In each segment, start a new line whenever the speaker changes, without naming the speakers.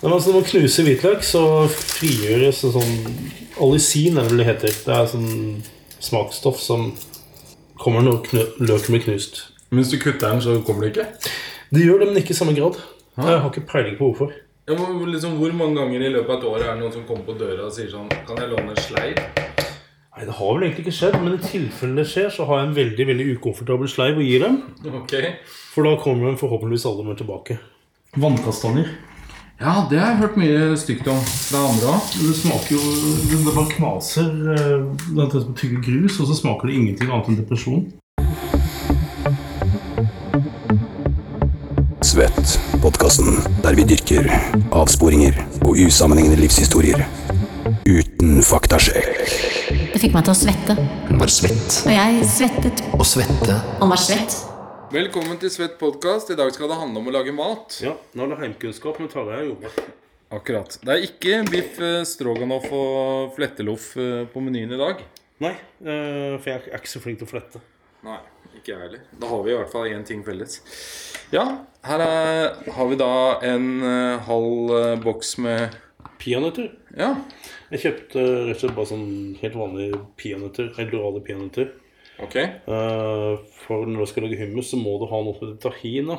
Nei, men altså, Når man knuser hvitløk, så frigjøres det sånn Alisin er det vel det heter. Det er sånn smaksstoff som kommer når knu, løken blir knust.
Mens du kutter den, så kommer det ikke?
Det gjør det, men ikke i samme grad. Jeg har ikke peiling på hvorfor.
Ja, men liksom, Hvor mange ganger i løpet av et år er det noen som kommer på døra og sier sånn Kan jeg låne en sleiv?
Nei, Det har vel egentlig ikke skjedd, men i tilfelle det skjer, så har jeg en veldig veldig ukomfortabel sleiv og gir dem.
Ok.
For da kommer de forhåpentligvis alle med tilbake. Vannkastanjer.
Ja, det har jeg hørt mye stygt om fra andre òg.
Det smaker jo Det bare knaser. eh, Det er som tygge grus, og så smaker det ingenting annet enn depresjon.
Svett, podkasten der vi dyrker avsporinger og usammenhengende livshistorier. Uten faktasjekk.
Det fikk meg til å svette.
Hun var svett
Og jeg svettet
og svette.
og var svett.
Velkommen til Svett podkast. I dag skal det handle om å lage mat.
Ja, nå er det heimkunnskap med Tarjei og jordbær.
Akkurat. Det er ikke biff eh, stroganoff og fletteloff eh, på menyen i dag.
Nei, eh, for jeg er ikke så flink til å flette.
Nei, ikke jeg heller. Da har vi i hvert fall én ting felles. Ja, her er, har vi da en eh, halv eh, boks med
Peanøtter.
Ja.
Jeg kjøpte rett og slett bare sånn helt vanlige peanøtter. Eldorale peanøtter.
Ok.
Eh, for når du skal lage hummus, så må du ha noe som heter tahina.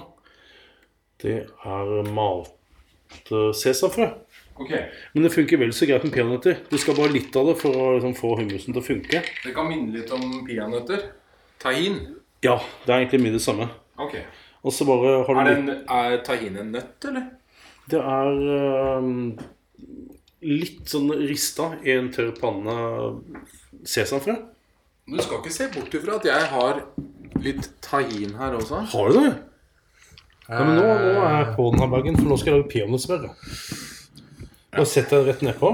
Det er malt eh, sesamfrø.
Ok.
Men det funker vel så greit med peanøtter. Du skal bare ha litt av det for å liksom, få hummusen til å funke.
Det kan minne litt om peanøtter. Tahin.
Ja, det er egentlig mye det samme.
Ok.
Og så bare har du
Er,
litt
den, er tahin en nøtt, eller?
Det er ehm, litt sånn rista i en tørr panne sesamfrø.
Du skal ikke se bort ifra at jeg har litt tahin her også.
Har du det? Ja, men nå, nå er jeg på den her bagen, for nå skal jeg lage peanøttsmør. Bare sett deg rett nedpå.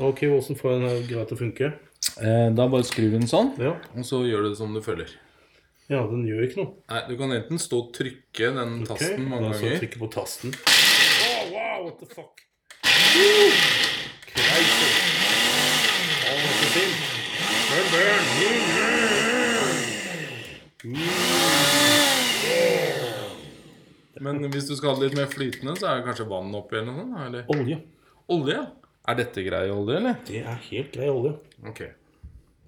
Ok, hvordan får jeg den her greit til å funke?
Eh, da bare skrur den sånn,
Ja.
og så gjør du det som du føler.
ja, den gjør ikke noe.
Nei, Du kan enten stå og trykke den
Ok,
tasten mange
da skal jeg
ganger.
trykke på tasten. Åh, wow, what the fuck?
Men hvis du skal ha det litt mer flytende, så er det kanskje vann oppi eller noe sånt? da, Eller
Olje.
olje? Er dette grei olje, eller?
Det er helt grei olje.
Ok.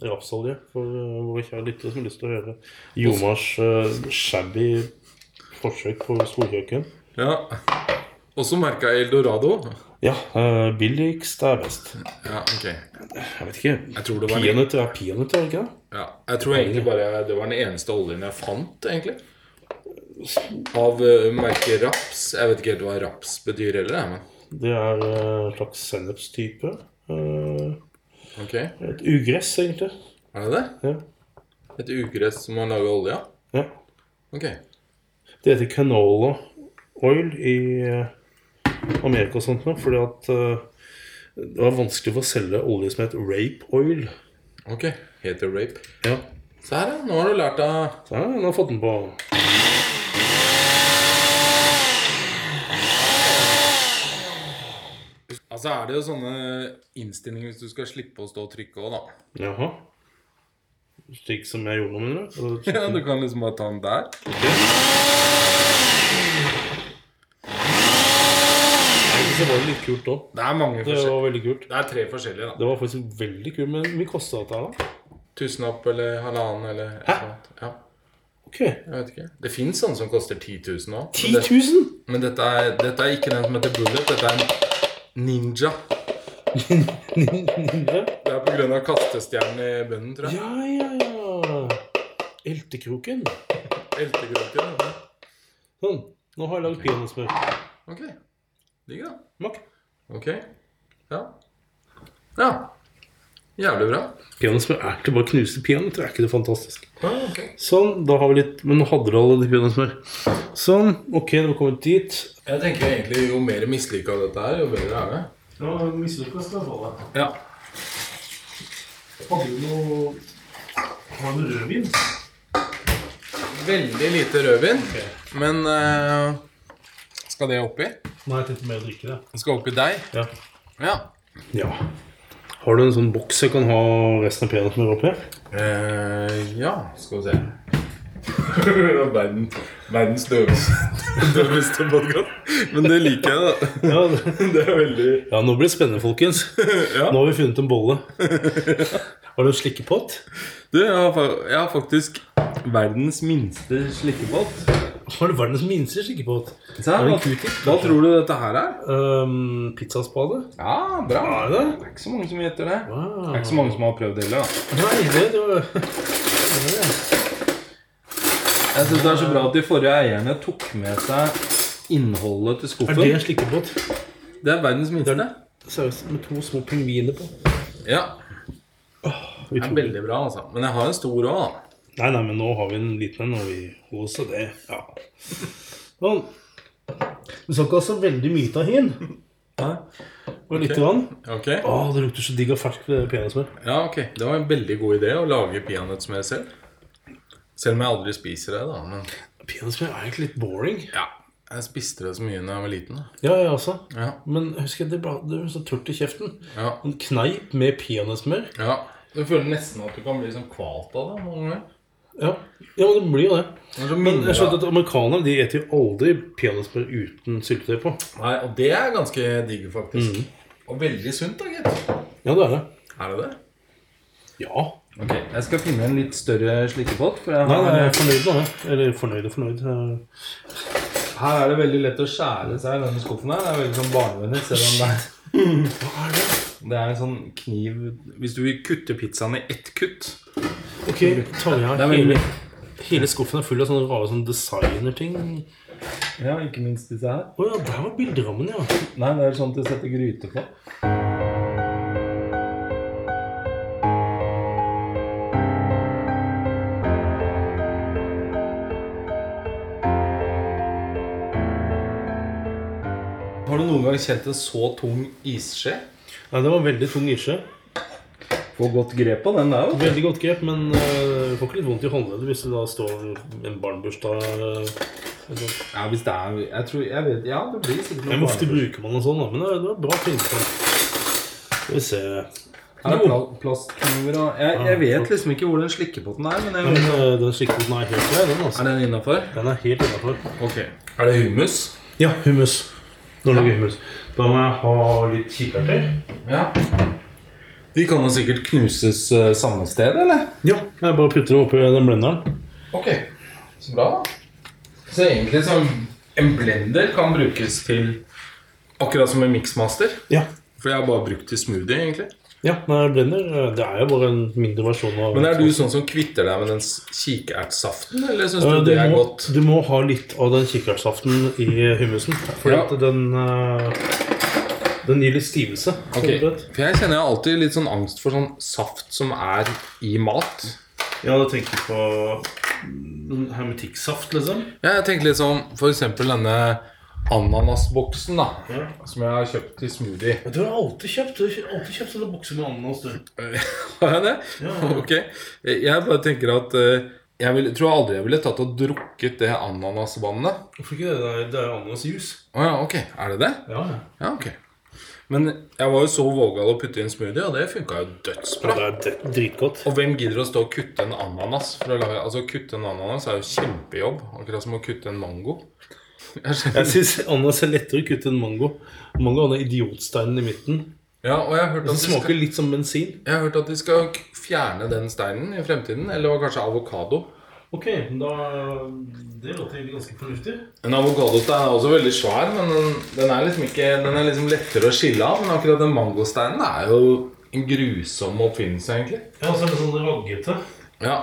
rapsolje for eh, våre kjære lyttere som har lyst til å høre Jomars uh, shabby forsøk på storkjøkken.
Ja. Også merka Eldorado.
Ja, eh, billigst er best.
Ja, ok.
Jeg vet ikke.
Jeg tror det var den,
Peanøtter er peanøtter, er det ikke det?
ja, jeg tror egentlig bare jeg- det var den eneste oljen jeg fant, egentlig. Av eh, merket raps. Jeg vet ikke helt hva raps betyr heller, jeg, men
Det er eh, en slags sennepstype. Eh,
ok. Er
et ugress, egentlig.
det det?
Ja.
Et ugress som har laga olje?
ja.
Ok.
Det heter canola oil i eh, Amerika og sånt noe, fordi at eh, det var vanskelig for å selge olje som het rape oil.
ok. Heter rape.
Ja.
Se her, ja. Nå har du lært av
Så ja, nå har jeg fått den på
Altså er det jo sånne innstillinger hvis du skal slippe å stå og trykke òg, da.
Jaha. Slik som jeg gjorde nå, mener du? Altså,
Ja, Du kan liksom bare ta den der.
Egentlig så var det litt kult òg.
Det er mange
Det
forskjellige.
var veldig kult.
Det er tre forskjellige, da.
Det var faktisk veldig kult, men hvor mye kosta dette her, da?
Tusenlapp eller halvannen eller Hæ? Ja,
Ok,
jeg vet ikke. Det fins sånne som koster 10 000 òg.
10 000?
Men dette er, dette er ikke den som heter Bullet. Dette er en ninja.
Mindre?
Det er på grunn av kastestjernen i bønnen, tror jeg.
Ja, ja, ja. Eltekroken.
Eltekroken. ja.
Sånn. Nå har jeg lagd peanøttsmør.
Ok. Digg, da.
Smak.
Ok. Ja. Ja. Jævlig bra.
Peanøttsmør er ikke bare knuste peanøtter. Er ikke det fantastisk?
Ja, ok.
Sånn, da har vi litt Men nå hadde du alle de peanøttsmør. Sånn. Ok, du har kommet dit.
Jeg tenker egentlig jo mer mislykka dette her, jo bedre er det.
Ja, mislykka skal jeg få deg.
Ja.
Hadde du noe Har du rødvin?
Veldig lite rødvin, men eh, skal det oppi?
Nei, jeg tenkte mer å drikke det.
Det skal oppi deg.
Ja.
Ja.
ja. Har du en sånn boks jeg kan ha resten av peanøttene oppi?
Eh, ja, skal vi se. Verden, verdens døveste døveste podkast. Men det liker jeg, da.
Ja, det-
Det er veldig
ja, nå blir det spennende, folkens.
Ja.
Nå har vi funnet en bolle. Har du en slikkepott?
Du, jeg har, fa- jeg har faktisk verdens minste slikkebåt.
Har du verdens minste slikkepott?
Hva,
Er det en Q-tip,
hva tror du dette her er?
Um, Pizzaspade?
Ja, bra.
Er
Det
det?
er ikke så mange som gjetter det. Det
Wow.
er ikke så mange som har prøvd det heller. da.
Nei, Ah. det, det var...
Jeg synes Det er så bra at de forrige eierne tok med seg innholdet til
Er
skuffen.
det sånn? en slikkepott?
Det er verdens minste.
Seriøst, med to små pingviner på.
Ja, det er
Utrolig.
veldig bra, altså. Men jeg har en stor òg, da.
Nei, nei, men nå har vi en liten en, og vi holder oss til det. Ja. Sånn. Du skal ikke ha så veldig mye av hin. Og litt grann.
Ok.
Å, det lukter så digg av fersk peanøttsmør.
Ja, ok. Det var en veldig god idé å lage peanøttsmør selv. Selv om jeg aldri spiser det, da. Men
Peanøttsmør er egentlig litt boring.
ja, jeg spiste det så mye da jeg var liten. da.
Ja, jeg også.
Ja,
Men husker jeg, det ble, det ble så tørt i kjeften.
ja.
En kneip med peanøttsmør.
Ja, Du føler nesten at du kan bli sånn kvalt av det. mange ganger.
Ja. ja, men det blir jo det.
Det er så
Men
minner
jeg skjønte
deg-
at amerikanerne de eter jo aldri peanøttsmør uten syltetøy på.
Nei, Og det er ganske digg, faktisk. Og veldig sunt, da, gitt.
Ja, det er det.
Er det det?
Ja.
Ok, Jeg skal finne en litt større slikkepott. For jeg
Nei,
har,
nei, jeg er fornøyd nå, jeg. Eller fornøyd og fornøyd. Jeg-
Her er det veldig lett å skjære seg i denne skuffen. her Det er veldig sånn barnevennlig. Selv om det er
Hva er det?
Det er en sånn kniv Hvis du vil kutte pizzaen i ett kutt
Ok, tar jeg
Det er veldig
hele, hele skuffen er full av sånne rare sånne designerting. Å
Ja, ikke minst disse her.
ja, der var bilderammen, ja.
Nei, det er sånn til å sette gryte på. Har du noen gang kjent en så tung isskje?
Nei, det var veldig tung isje.
Få godt grep på den der.
Veldig godt grep, men eh, du får ikke litt vondt i håndleddet hvis det da står en barnebursdag eh, eller noe.
Ja, hvis det er Jeg tror Jeg vet Ja, det blir sikkert
Men ofte
barnebord.
bruker man en sånn, da. Men det var bra tilstand. Skal vi se
Her er
Jo.
pla- plastkniver og jeg, jeg vet liksom ikke hvor den slikkepotten er, men
Men
jeg,
eh, den slikkepoten er helt grei, den. altså.
Er den innafor?
Den er helt innafor.
Ok. Er det hummus?
Ja, hummus. Nå lager jeg hummus. Da må jeg ha litt kikerter.
Ja. De kan jo sikkert knuses eh, samme sted, eller?
Ja, jeg bare putter dem oppi den blenderen.
Ok. Så bra. Så egentlig som en blender kan brukes til Akkurat som en mixmaster.
Ja.
For jeg har bare brukt til smoothie, egentlig.
Ja, nei, blender. Det er jo bare en mindre versjon av
Men er du sånn som kvitter deg med den s- kikertsaften, eller syns
Eh,
du
du,
det er
må,
godt?
du må ha litt av den kikkertsaften i hummusen. For
Ja.
at den eh, Den gir litt stivelse.
Ok,
sånn sett.
For jeg kjenner jeg har alltid litt sånn angst for sånn saft som er i mat.
Ja, da tenker jeg på mm, hermetikksaft, liksom.
Ja, jeg tenkte litt sånn For eksempel denne ananasboksen da Som jeg har kjøpt til smoothie
Du har alltid kjøpt Du har alltid kjøpt sånne bokser med ananas, du.
Har jeg det?
Ja.
Ok Jeg bare tenker at eh, Jeg vil, tror aldri jeg ville tatt og drukket det ananasvannet
Hvorfor ikke det? Det er, det er ananasjuice.
Åja, ok Er det det?
Ja, ja.
Ja, ok Men jeg var jo så vågal å putte inn smoothie Og det funket jo dødsbra
Det er det- dritgodt.
Og hvem gidder å stå og kutte en ananas? For å lage, altså kutte en ananas er jo kjempejobb Akkurat som å kutte en mango Jeg skjønner
Jeg syns ananas er lettere å kutte enn mango. Mango har den idiotsteinen i midten.
Ja, og jeg har hørt at
Den
det skal-
smaker litt som bensin.
Jeg har hørt at de skal k- fjerne den steinen i fremtiden. Eller det var kanskje avokado.
Ok, da Det låter egentlig ganske fornuftig.
En avokadostein er også veldig svær, men den, den er liksom ikke Den er liksom lettere å skille av. Men akkurat den mangosteinen er jo en grusom oppfinnelse, egentlig.
Ja, og så er det sånn raggete.
Ja.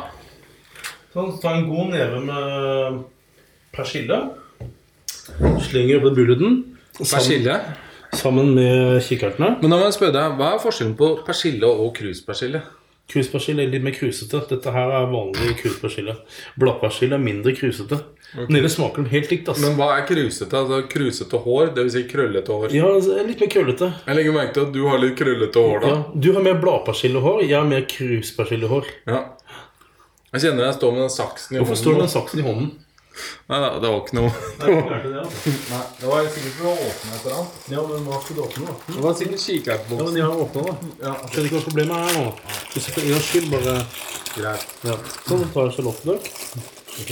Sånn, så ta en god neve med persille. Slenger oppi bulleten.
Persille.
Sammen med kikkertene.
Men da må jeg spørre deg, hva er forskjellen på persille og kruspersille?
Kruspersille er litt mer krusete. Dette her er vanlig kruspersille. Bladpersille er mindre krusete. Den ene smaker den helt likt. ass.
Men hva er krusete? Altså krusete hår, dvs. Si krøllete hår?
Ja, altså, er litt mer krøllete.
Jeg legger merke til at du har litt krøllete hår, da.
Ja, du har mer bladpersillehår, jeg har mer kruspersillehår.
Ja. Jeg kjenner jeg står med den saksen i
Hvorfor står det
hånden.
den saksen i hånden?
Nei da, det var ikke noe
Ja,
Nei, Det var sikkert for å åpne et eller annet.
men hva skal du åpne, da?
Det var sikkert
Ja,
kikertboks.
men de har åpna, da.
Ja,
Skjønner altså, ikke hva problemet er nå. Hvis du for en gangs skyld bare
greit.
ja. Sånn, tar jeg sjalottløk.
Ok.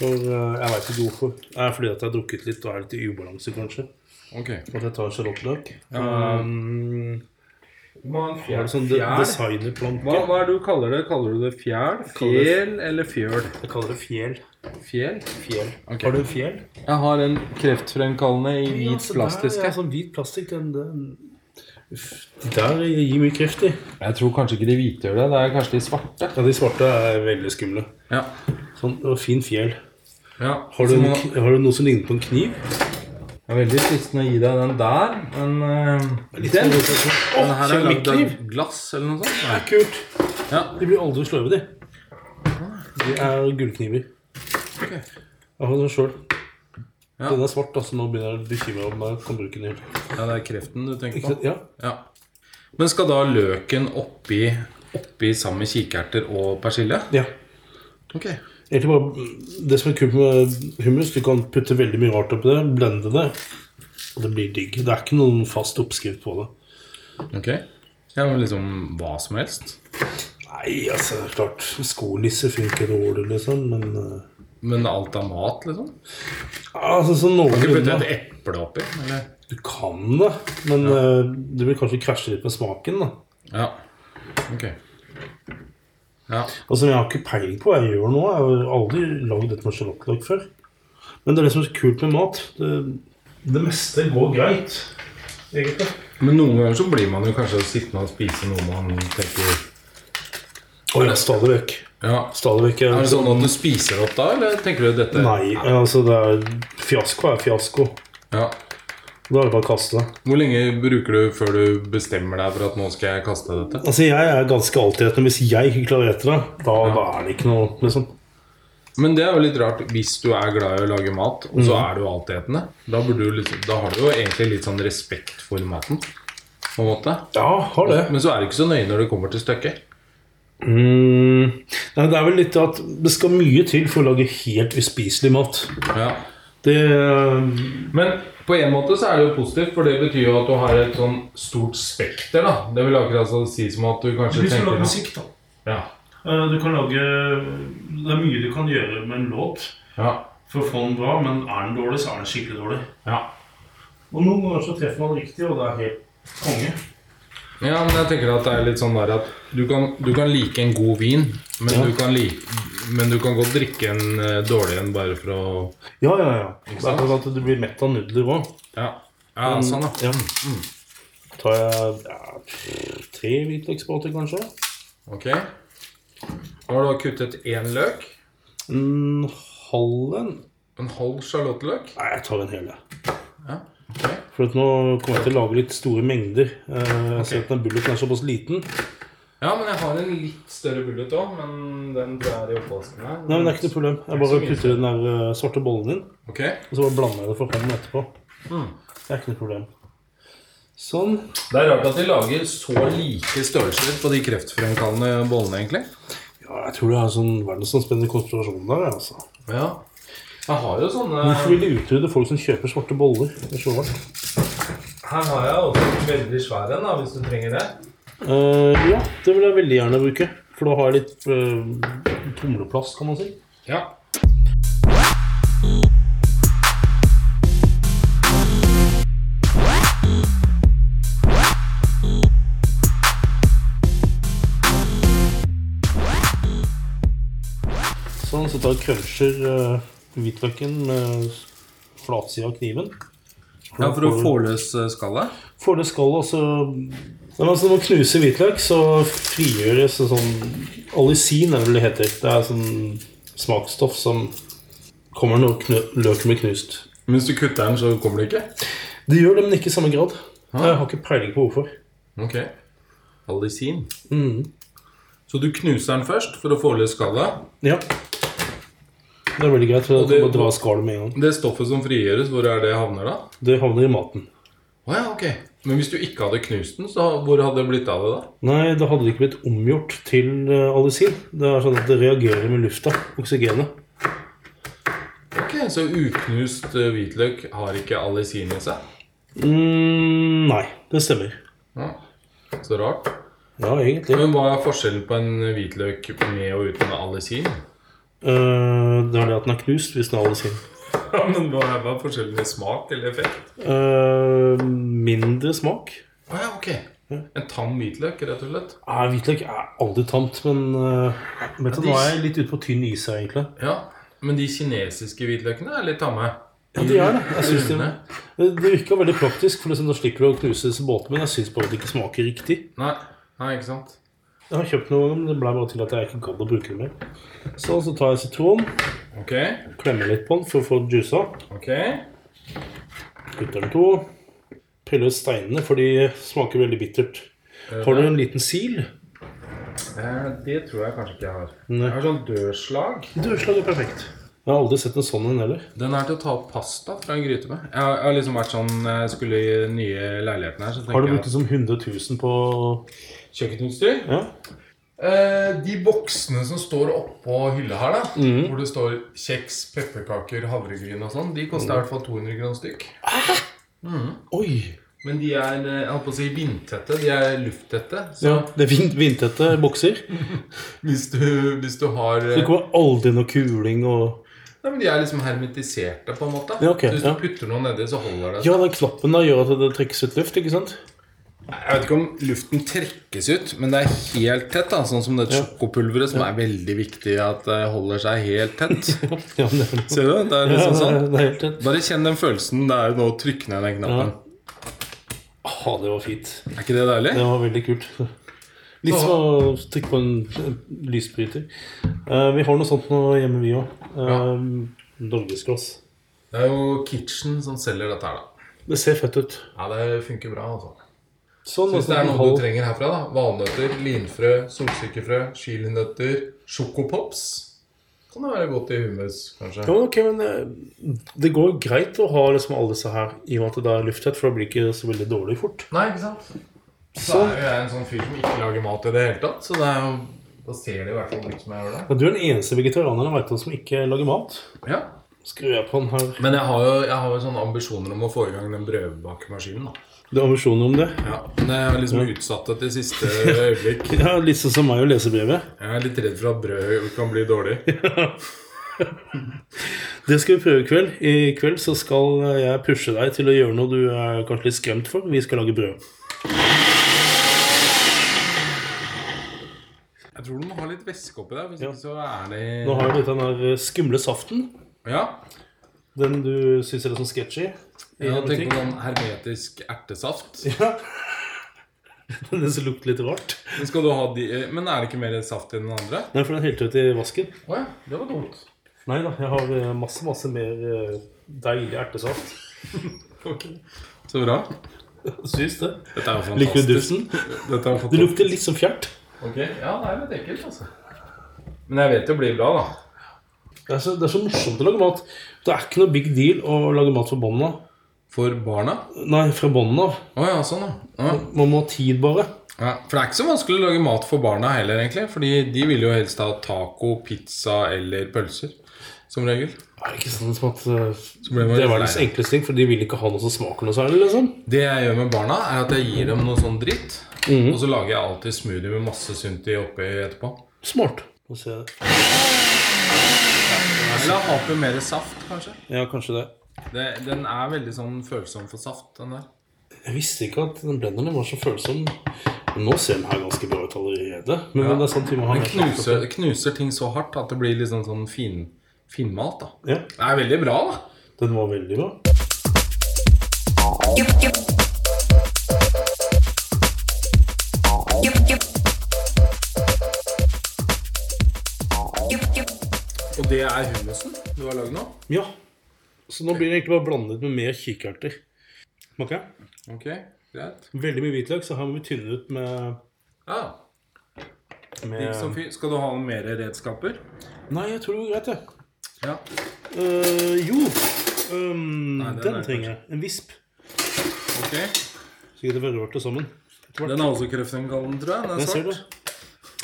For eh, jeg veit ikke hvorfor. Det er fordi at jeg har drukket litt og er litt i ubalanse, kanskje.
Ok.
At jeg tar sjalottløk. Um,
Hva
er det sånn de designerplanke?
Hva, hva er det du kaller det? Kaller du det fjæl?
Kaller det-
Fjell eller fjøl?
Jeg kaller det fjell.
Fjell?
Fjell.
Ok.
Har du en fjell?
Jeg har en kreftfremkallende i hvit plastisk. altså.
Ja, sånn hvit plastikk, den, den. Uff, De der gir mye kreft i.
Jeg tror kanskje ikke de hvite gjør det. Det er kanskje de svarte.
Ja, de svarte er veldig skumle.
Ja.
Sånn, og fin fjell.
ja.
Har du, en, har du noe som ligner på en kniv?
Det er veldig fristende å gi deg den der, men eh,
sånn-
den,
sånn-
Å,
den her er lagd av
keramikkniv!
glass eller noe sånt.
Det er kult!
Ja.
De blir aldri sløve, de. De er gullkniver. Jeg har den sjøl.
Ja.
Den er svart, altså nå begynner jeg å bekymre meg om jeg kan bruke den igjen.
Ja, det er kreften du tenker
Ikke sant?
på?
Ja.
Ja. Men skal da løken oppi, oppi sammen med kikerter og persille?
ja.
Ok.
Egentlig bare, Det som er kult med hummus, du kan putte veldig mye rart oppi det, blende det, og det blir digg. Det er ikke noen fast oppskrift på det.
Ok. Ja, men liksom hva som helst.
Nei, altså, det er klart, skolisse funker dårlig, liksom, men eh,
Men alt av mat, liksom?
Altså, sånn
Skal vi putte
noenlunde
et eple oppi? Eller?
Du kan det, men eh, du vil kanskje krasje litt med smaken, da.
Ja. Ok. Ja.
Og som jeg har ikke peiling på hva jeg gjør nå. Jeg har aldri lagd dette med sjalottløk før. Men det er det som er kult med mat. Det, det meste går greit, egentlig.
Men noen ganger så blir man jo kanskje sittende og spise noe man tenker
Og ja, stadig vekk.
Ja.
Stadig vekk.
Er det sånn at du spiser opp da, eller tenker du dette
Nei, altså det er Fiasko er fiasko.
Ja.
Da er det bare å kaste.
Hvor lenge bruker du før du bestemmer deg for at nå skal jeg kaste dette?
Altså Jeg er ganske alltidretende. Hvis jeg ikke klarer etter det, da, da er det ikke noe liksom.
Men det er jo litt rart hvis du er glad i å lage mat, og så er du altetende. Da, burde du liksom, da har du jo egentlig litt sånn respekt for maten, på en måte.
Ja, har det.
Men så er du ikke så nøye når det kommer til stykket.
Mm. Nei, det er vel litt at det skal mye til for å lage helt uspiselig mat.
Ja.
Det eh,
Men på en måte så er det jo positivt, for det betyr jo at du har et sånn stort spekter, da. Det vil akkurat altså si som at du kanskje
Hvis du
tenker
lager
at-
musikk, da.
Ja.
Eh, Du kan lage Det er mye du kan gjøre med en låt
Ja.
for å få den bra, men er den dårlig, så er den skikkelig dårlig.
Ja.
Og noen ganger så treffer man riktig, og det er helt konge.
Ja, men jeg tenker at det er litt sånn der at du kan, du kan like en god vin, men, du, kan like, men du kan godt drikke en eh, dårlig en bare for å
Ja, ja, ja. Det er
sant?
akkurat at du blir mett av nudler òg.
Ja, ja sånn, da.
Ja. Tar jeg ja, tre hvitløksbåter, kanskje?
Ok. Har du kuttet én løk?
En halv en?
En halv sjalottløk?
Nei, jeg tar en hel. jeg.
Ja. ok.
For at nå kommer jeg til å lage litt store mengder. Eh, Jeg ser at den bulleten er såpass liten.
ja, men jeg har en litt større bullet òg, men den tror jeg er i oppvasken her.
Nei, men Det er ikke noe problem. Jeg bare putter i den der eh, svarte bollen din,
Ok,
og så bare blander jeg det for hånden etterpå. Det er ikke noe problem. Sånn.
Det er rart at de lager så like størrelser på de kreftfremkallende bollene, egentlig.
Ja, jeg tror det er en sånn verdensomspennende konspirasjon der. altså.
Ja. Jeg har jo sånne
Hvorfor vil de utrydde folk som kjøper svarte boller? Det er så rart.
Her har jeg også en veldig svær en, da, hvis du trenger det.
Eh, ja, det vil jeg veldig gjerne bruke. For da har jeg litt eh, tomleplass, kan man si.
Ja.
Sånn, så tar jeg cruncher eh, hvitløken med flatsida av kniven.
Ja, for å få løs eh, skallet?
Får det skallet, og så Nei, men altså, Når man knuser hvitløk, så frigjøres en sånn Alisin er det vel det heter. Det er sånn smaksstoff som kommer når knu løken blir knust.
Mens du kutter den, så kommer det ikke?
Det gjør det, men ikke i samme grad. Jeg har ikke peiling på hvorfor.
Ok. Alisin. Så du knuser den først for å få løs skallet.
Ja. Det er veldig greit. for
Og det-
Du må dra skallet med en gang.
Det stoffet som frigjøres, hvor er det havner da?
Det havner i maten.
Å ja, ok. Men hvis du ikke hadde knust den, så hvor hadde det blitt av det da?
Nei, da hadde det ikke blitt omgjort til eh, allicin. Det er sånn at det reagerer med lufta. Oksygenet.
Ok, Så uknust eh, hvitløk har ikke alisin i seg?
Mm, nei, det stemmer.
Ja. Så rart.
Ja, egentlig.
Men hva er forskjellen på en hvitløk med og uten alisin?
Eh, det er det at den er knust hvis den er allisin.
Ja, men hva er, hva er forskjellen i smak eller effekt?
Eh, mindre smak.
Å ja, ok. En tam hvitløk, rett og slett.
Nei, Hvitløk er aldri tamt, men eh, vet du, nå er jeg litt ute på tynn is her, egentlig.
Ja, Men de kinesiske hvitløkene er litt tamme.
Ja, de er det. Jeg synes det,
Runde.
Eh, det virka veldig praktisk, for liksom, da slipper du å knuse disse båtene. Men jeg syns bare det ikke smaker riktig.
Nei, nei, ikke sant?
Jeg har kjøpt noen, men det ble bare til at jeg ikke gadd å bruke den mer. Så, så tar jeg sitron,
Ok,
klemmer litt på den for å få juica.
ok.
Putter den to. Piller ut steinene, for de smaker veldig bittert. Har du en liten sil?
Eh, det tror jeg kanskje ikke jeg har.
Nei.
Jeg har sånn dørslag.
Dørslag er perfekt. Jeg har aldri sett en sånn en heller.
Den er til å ta opp pasta fra en gryte med. Jeg har, jeg har liksom vært sånn når jeg skulle i den nye leiligheten her, så
Har du
tenker
brukt
jeg
som 100 000 på
at kjøkkenutstyr.
Ja?
Eh, de boksene som står oppå hylla her, da,
Mhm.
hvor det står kjeks, pepperkaker, havregryn og sånn, de
Mhm.
koster i hvert fall 200 kroner stykk.
Oi!
Men de er eh, jeg holdt på å si vindtette. De er lufttette. Så
Ja, det er vind, vindtette bokser.
hvis, du, hvis du har eh,
Det kommer aldri noe kuling og
Nei, men De er liksom hermetiserte, på en måte.
Ja, ok,
så hvis
ja.
du putter noe nedi, så holder det.
Ja, den knappen der gjør at det trekkes ut luft, ikke sant?
Jeg vet ikke om luften trekkes ut, men det er helt tett. da Sånn som det sjokopulveret, som er veldig viktig at det holder seg helt tett.
Ja, men det er
Ser du? Det er liksom
Ja,
sånn.
det er helt rett.
Bare kjenn den følelsen. Det er jo nå å trykke ned den knappen.
Ah, det var fint.
Er ikke det deilig?
Det var veldig kult. Litt som å trykke på en en lysbryter. Eh, vi har noe sånt nå hjemme, vi òg. Norgesglass.
Det er jo Kitchen som selger dette her, da.
Det ser fett ut.
Ja, det funker bra, altså.
Sånn,
Hvis det er
en
noe
halv-
du trenger herfra, da. Valnøtter, linfrø, solsikkefrø, chilinøtter, sjokopops. Kan det være godt i hummus, kanskje.
Ja, ok, men eh, Det går greit å ha liksom alle disse her i og med at det er lufttett, for da blir det ikke så veldig dårlig fort.
Nei, ikke sant? Så
Sånn.
er jo jeg en sånn fyr som ikke lager mat i det hele tatt, så det er jo da ser det i hvert fall ut som jeg gjør det.
Og Du er den eneste vegetarianeren jeg vet om som ikke lager mat.
Ja.
Skrur jeg på den her
Men jeg har jo jeg har jo sånne ambisjoner om å få i gang den brødbakemaskinen. da.
Du har ambisjoner om det?
Ja, Men jeg er liksom utsatt det til siste øyeblikk.
Ja, Litt sånn som meg og lesebrevet.
Jeg er litt redd for at brød kan bli dårlig.
Det skal vi prøve i kveld. I kveld så skal jeg pushe deg til å gjøre noe du er kanskje litt skremt for. Vi skal lage brød.
Jeg tror du må ha litt væske oppi der, hvis ikke så er det
Nå har jeg litt den der skumle saften.
Ja.
Den du syns er litt sånn sketchy. I
Jeg
en
tenker
butikk.
på sånn hermetisk ertesaft.
Den som lukter litt rart.
Men, skal du ha de, eh, men er det ikke mer saft i den andre?
Nei, for den helte ut i vasken.
Å ja, det var dumt.
Nei da, jeg har eh, masse, masse mer eh, deilig ertesaft.
Ok. Så bra.
Syns det.
Dette er jo fantastisk.
Liker du duften?
Dette er
Det
fantastisk.
lukter litt som fjert.
Ok, Ja, det er litt ekkelt, altså. Men jeg vet det blir bra, da.
Det er, så, det er så morsomt å lage mat. Det er ikke noe big deal å lage mat fra bånn av.
For barna?
Nei, fra bånn av.
Å ja, sånn, ja. ja.
Man må ha tid, bare.
Ja, For det er ikke så vanskelig å lage mat for barna heller, egentlig. Fordi de vil jo helst ha taco, pizza eller pølser. Som regel.
Er det ikke sånn som at eh,
ble man
Det er
litt
verdens
lei.
enkleste ting, for de vil ikke ha noe som smaker noe særlig. liksom
Det jeg gjør med barna, er at jeg gir dem noe sånn dritt.
Mhm.
Og så lager jeg alltid smoothie med masse Sunti oppi etterpå.
Smart. Nå ser jeg det.
Eller ha oppi mer saft, kanskje.
Ja, kanskje det.
Det, den er veldig sånn følsom for saft, den der.
Jeg visste ikke at den blenderen var så følsom. Men nå ser den her ganske bra ut allerede. Men det er sant vi må ha
Den
mer
knuser, det knuser ting så hardt at det blir litt sånn, sånn fin, finmalt, da.
Ja,
Det er veldig bra, da.
den var veldig bra.
Og det er hummusen du har lagd nå?
Ja. Så nå blir det egentlig bare blandet med mer kikerter. Smaker jeg?
Ok, greit.
Veldig mye hvitløk, så her må vi tynne ut med,
Ja,
med
gikk som fy. Skal du ha noen mer redskaper?
Nei, jeg tror det går greit, jeg.
Ja.
Eh, jo ehm,
Nei, den
Den
er
trenger jeg. En visp.
Ok.
Sikkert det var rørt det sammen.
Den er også kreftfremkallende, tror jeg. Den
Men
er
ser du?
svart.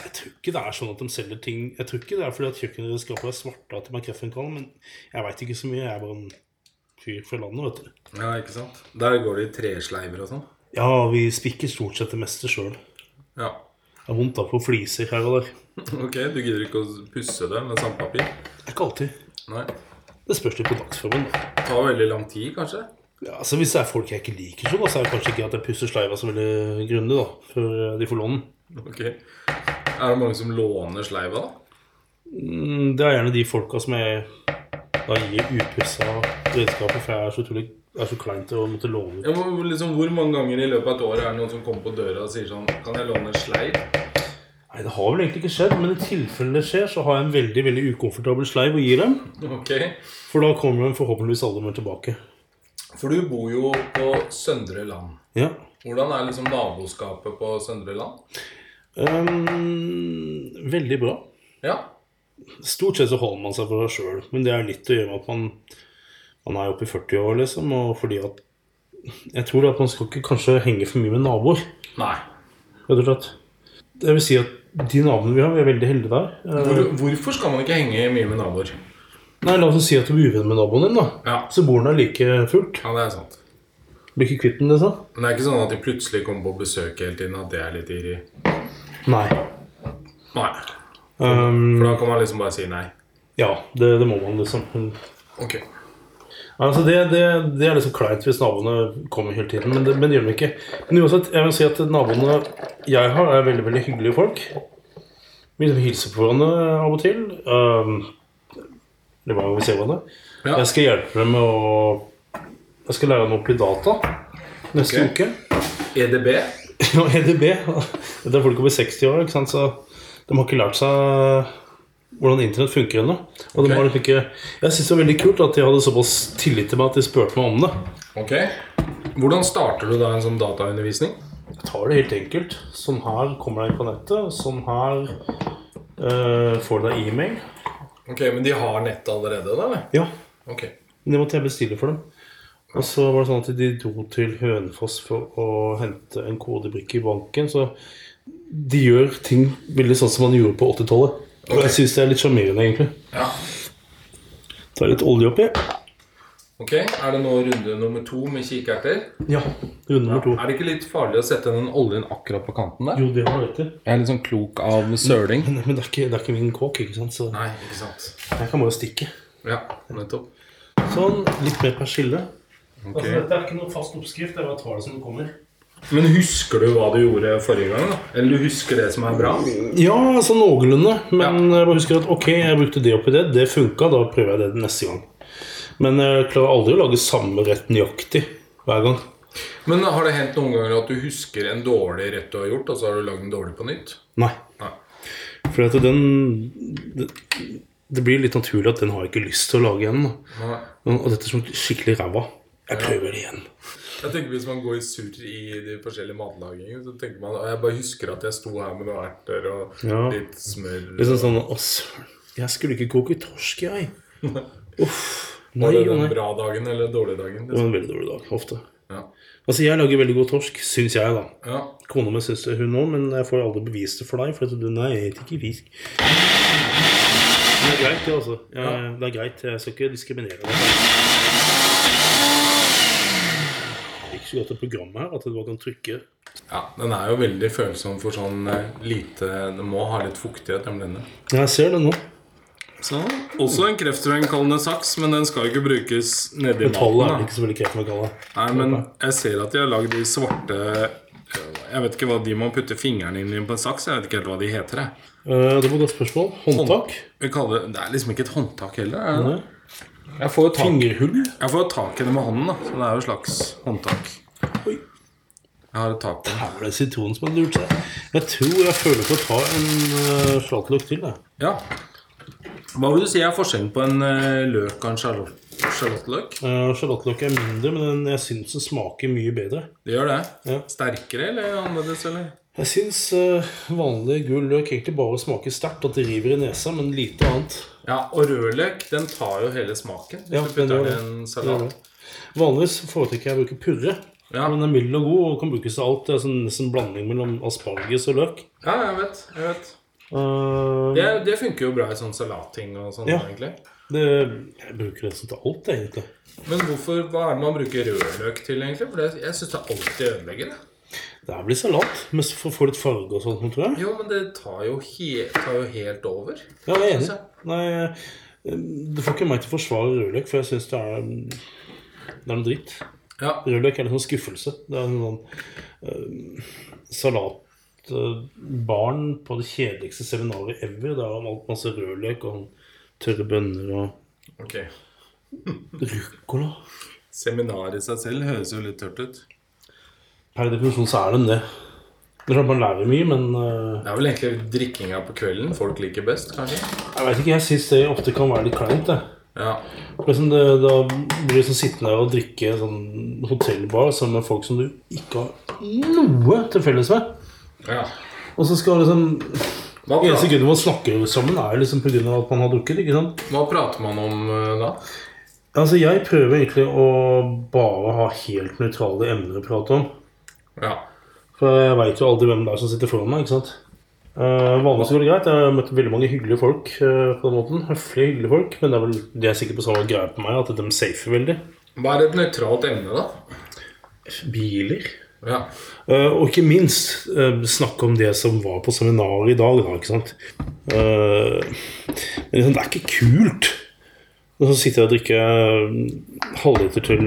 Jeg tror ikke det er sånn at de selger ting Jeg tror ikke det er fordi at kjøkkenredskaper er svarte at de er kreftfremkallende, men jeg veit ikke så mye. Jeg er bare en fyr fra landet, vet du.
Ja, ikke sant. Der går det i tresleiver og sånn.
Ja, vi spikker stort sett det meste sjøl.
Ja.
Det er vondt da på fliser her og der.
Ok, Du gidder ikke å pusse det med sandpapir?
Ikke alltid.
Nei.
Det spørs litt på dagsformen. da.
Det tar veldig lang tid, kanskje?
Ja, altså Hvis det er folk jeg ikke liker, så da, så er det kanskje ikke at jeg pusser sleiva så veldig grundig da, før eh, de får låne den.
Ok. Er det mange som låner sleiva, da?
Mm, Det er gjerne de folka som jeg da gir upussa redskaper, for jeg er så utrolig det er så kleint å måtte låne ut.
Ja, men liksom, Hvor mange ganger i løpet av et år er det noen som kommer på døra og sier sånn Kan jeg låne en sleiv?
Nei, Det har vel egentlig ikke skjedd, men i tilfelle det skjer, så har jeg en veldig veldig ukomfortabel sleiv og gir dem.
Ok.
For da kommer de forhåpentligvis alle med tilbake.
For du bor jo på Søndre Land.
Ja.
Hvordan er liksom naboskapet på Søndre Land?
Ehm, veldig bra.
Ja.
Stort sett så holder man seg for seg sjøl, men det er litt å gjøre med at man, man er oppe i 40 år, liksom, og fordi at Jeg tror at man skal ikke kanskje henge for mye med naboer,
Nei.
rett og slett. Det vil si at de naboene vi har, vi er veldig heldige der. Eh,
Hvor, hvorfor skal man ikke henge mye med naboer?
Nei, La oss si at du er uvenn med naboen din, da.
Ja.
Så bor han der like fullt.
Ja, det er sant.
Blir ikke kvitt den, liksom.
Men det er ikke sånn at de plutselig kommer på besøk hele tiden, at det er litt irri.
Nei.
Nei.
Ehm,
For da kan man liksom bare si nei.
ja, det, det må man, liksom. Men-
Ok.
Altså det, det, det er liksom kleint hvis naboene kommer hele tiden, men det, men det gjør de ikke. Men uansett, jeg vil si at naboene jeg har, er veldig veldig hyggelige folk. Vi liksom hilser på hverandre av og til. Um, det var jo vi ser hverandre.
Ja.
Jeg skal hjelpe dem med å Jeg skal lære dem opp i data neste
Ok. EDB?
uke. Ja, EDB. Dette er folk over 60 år, ikke sant? så de har ikke lært seg hvordan internett funker ennå. Og
Ok.
de har liksom ikke Jeg syns det var veldig kult at de hadde såpass tillit til meg at de spurte meg om det.
Ok. Hvordan starter du da en sånn dataundervisning?
tar det helt enkelt. Sånn her kommer deg inn på nettet. Sånn her eh, får du deg e-mail.
Ok, Men de har nettet allerede, da? eller?
Ja,
Ok.
men det måtte jeg bestille for dem. Og så var det sånn at de dro til Hønefoss for å hente en kodebrikke i banken. Så de gjør ting veldig sånn som man gjorde på 80-tallet. Og jeg syns det er litt sjarmerende, egentlig.
Ja.
Tar litt olje oppi.
Ok, Er det nå runde nummer to med kikerter?
Ja. Runde nummer to.
Er det ikke litt farlig å sette den oljen akkurat på kanten der?
Jo, det har du rett i.
Jeg er litt sånn klok av søling.
Men det er ikke, det er ikke min kåk, ikke sant? Så
Nei, ikke sant.
jeg kan bare stikke.
Ja, nettopp.
Sånn. Litt mer persille.
Ok.
dette Altså, er ikke noen fast oppskrift. Jeg bare tar det som det kommer.
Men husker du hva du gjorde forrige gang? da? Eller du husker det som er bra?
Ja, altså noenlunde. Men jeg bare husker at ok, jeg brukte det oppi det. Det funka. Da prøver jeg det neste gang. Men jeg klarer aldri å lage samme rett nøyaktig hver gang.
Men har det hendt noen ganger at du husker en dårlig rett du har gjort, og så har du lagd den dårlig på nytt?
Nei.
Nei.
For at den det, det blir litt naturlig at den har jeg ikke lyst til å lage igjen. da.
Nei.
Og dette er sånn skikkelig ræva. Jeg prøver det igjen.
Jeg tenker Hvis man går surr i de forskjellige matlagingene, så tenker man «Å, Jeg bare husker at jeg sto her med noen erter og
Ja.
litt smør.
Liksom sånn Å, søren. Jeg skulle ikke koke torsk, jeg. Uff. Nei
Var det
og
den
nei.
bra dagen eller den dårlige dagen?
Det var
Liksom?
en veldig dårlig dag. Ofte.
Ja.
Altså, jeg lager veldig god torsk, syns jeg, da.
ja.
Kona mi syns det, hun òg, men jeg får aldri bevist det for deg. For at du, nei, jeg spiser ikke fisk. Det er greit, det, altså. Jeg, Det er greit, Jeg skal ikke diskriminere deg. Det er ikke så godt et program her at du bare kan trykke
ja. Den er jo veldig følsom for sånn eh, lite Den må ha litt fuktighet, nemlig denne.
Jeg ser det nå.
Så, Sånn. også en kreftfremkallende saks, men den skal jo ikke brukes nedi
Metallet er
maten.
vel
da.
ikke så veldig krevende å kalle
Nei, men jeg ser at de har lagd de svarte Jeg vet ikke hva de må putte fingrene inn i på en saks. Jeg vet ikke helt hva de heter. Jeg.
Eh, Det var et godt spørsmål. Håndtak?
Vi kaller det, det er liksom ikke et håndtak heller. Er det?
Nei.
Jeg får jo tak
Fingerhull?
Jeg får jo tak i det med hånden, da. Så det er jo et slags håndtak.
Oi.
Jeg har et tak på det.
Her var det sitronen som hadde lurt seg. Jeg tror jeg føler for å ta en eh, flatløk til. Jeg.
Ja. Hva vil du si er forskjellen på en eh, løk og en sjalott- sjalottløk?
Eh, Sjalottløk er mindre, men den- jeg syns den smaker mye bedre.
Det gjør det.
Ja.
Sterkere eller annerledes, eller?
Jeg syns eh, vanlig gul løk egentlig bare smaker sterkt, at det river i nesa, men lite annet.
Ja, og rødløk, den tar jo hele smaken. Hvis
Ja,
du putter
den gjør
den i
det.
en
Det er
salat.
det. Vanligvis foretrekker jeg å bruke purre.
Ja.
Men eh, den er mild og god og kan brukes til alt. Det er sånn, nesten blanding mellom asparges og løk.
Ja, jeg vet. jeg vet.
Eh,
Det, det funker jo bra i sånn salatting og sånn,
Ja.
egentlig.
det, jeg bruker det sånn til alt, egentlig.
Men hvorfor, hva er det man bruker rødløk til, egentlig? For det, jeg syns det alltid ødelegger det.
Det er vel salat, men så får- får litt farge og sånt, tror jeg.
Jo, men det tar jo, he tar jo helt over.
Ja, jeg er enig.
Altså.
Nei, eh, det får ikke meg til å forsvare rødløk, for jeg syns det er mm, Det er noe dritt.
Ja,
Rødløk er litt sånn skuffelse. Det er en sånn eh, salatbarn på det kjedeligste seminaret ever. Det er om alt masse rødløk og tørre bønner og
ok.
ruccola.
Seminar i seg selv høres jo litt tørt ut.
Per definisjon så er den det. Det er klart Man lærer mye, men eh,
Det er vel egentlig drikkinga på kvelden folk liker best, kanskje?
jeg vet ikke, jeg syns det ofte kan være litt kleint. jeg.
Ja.
For Liksom det, da blir du sånn sittende her og drikke sånn hotellbar sammen med folk som du ikke har noe til felles med.
ja.
Og så skal liksom
Hva,
Eneste
prater,
grunnen man snakker sammen, er jo liksom pga. at man har drukket. ikke sant?
hva prater man om eh, da?
Altså, Jeg prøver egentlig å bare ha helt nøytrale emner å prate om.
Ja.
For jeg veit jo aldri hvem det er som sitter foran meg. ikke sant? Eh, vanligvis går det greit. Jeg har møtt veldig mange hyggelige folk. eh, på den måten. Høflige, hyggelige folk. Men det er vel de er sikkert på samme greie på meg, at de safer veldig.
Hva er et nøytralt emne, da?
Biler.
Ja.
Eh, og ikke minst eh, snakke om det som var på seminaret i dag, da, ikke sant. Eh, men liksom, det er ikke kult. Og så sitter jeg og drikker eh, halvliter til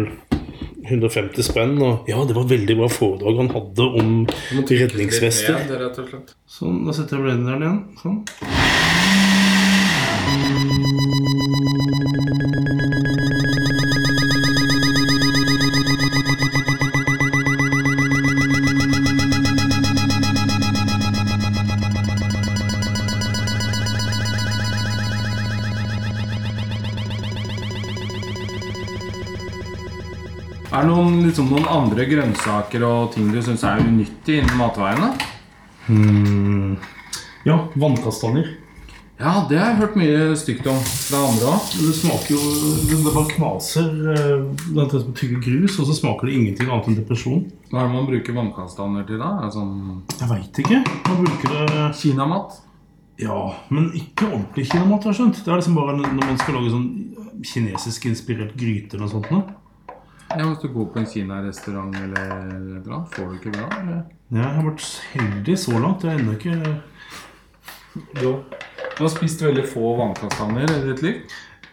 150 spenn, og ja, det var veldig bra foredrag han hadde om redningsvester.
Litt ned, rett og slett.
Sånn, da setter jeg blenderen igjen. Sånn.
Er det noen, liksom, noen andre grønnsaker og ting du syns er unyttig innen matveien? da?
Ja, vannkastanjer.
Ja, det har jeg hørt mye stygt om fra andre òg.
Det smaker jo Det det bare knaser. eh, Det er som å tygge grus, og så smaker det ingenting annet enn depresjon.
Hva er det man bruker vannkastaner til da? Er det sånn
Jeg veit ikke. Man bruker det
Kinamat?
Ja, men ikke ordentlig kinamat, har jeg skjønt. Det er liksom bare når man skal lage sånn kinesisk inspirert gryte eller noe sånt noe.
Ja, hvis du går på en kinarestaurant eller et eller annet, får du ikke bra? Eller?
Jeg har vært heldig så langt. Jeg har ennå ikke
Du har spist veldig få vannkastaner i ditt liv.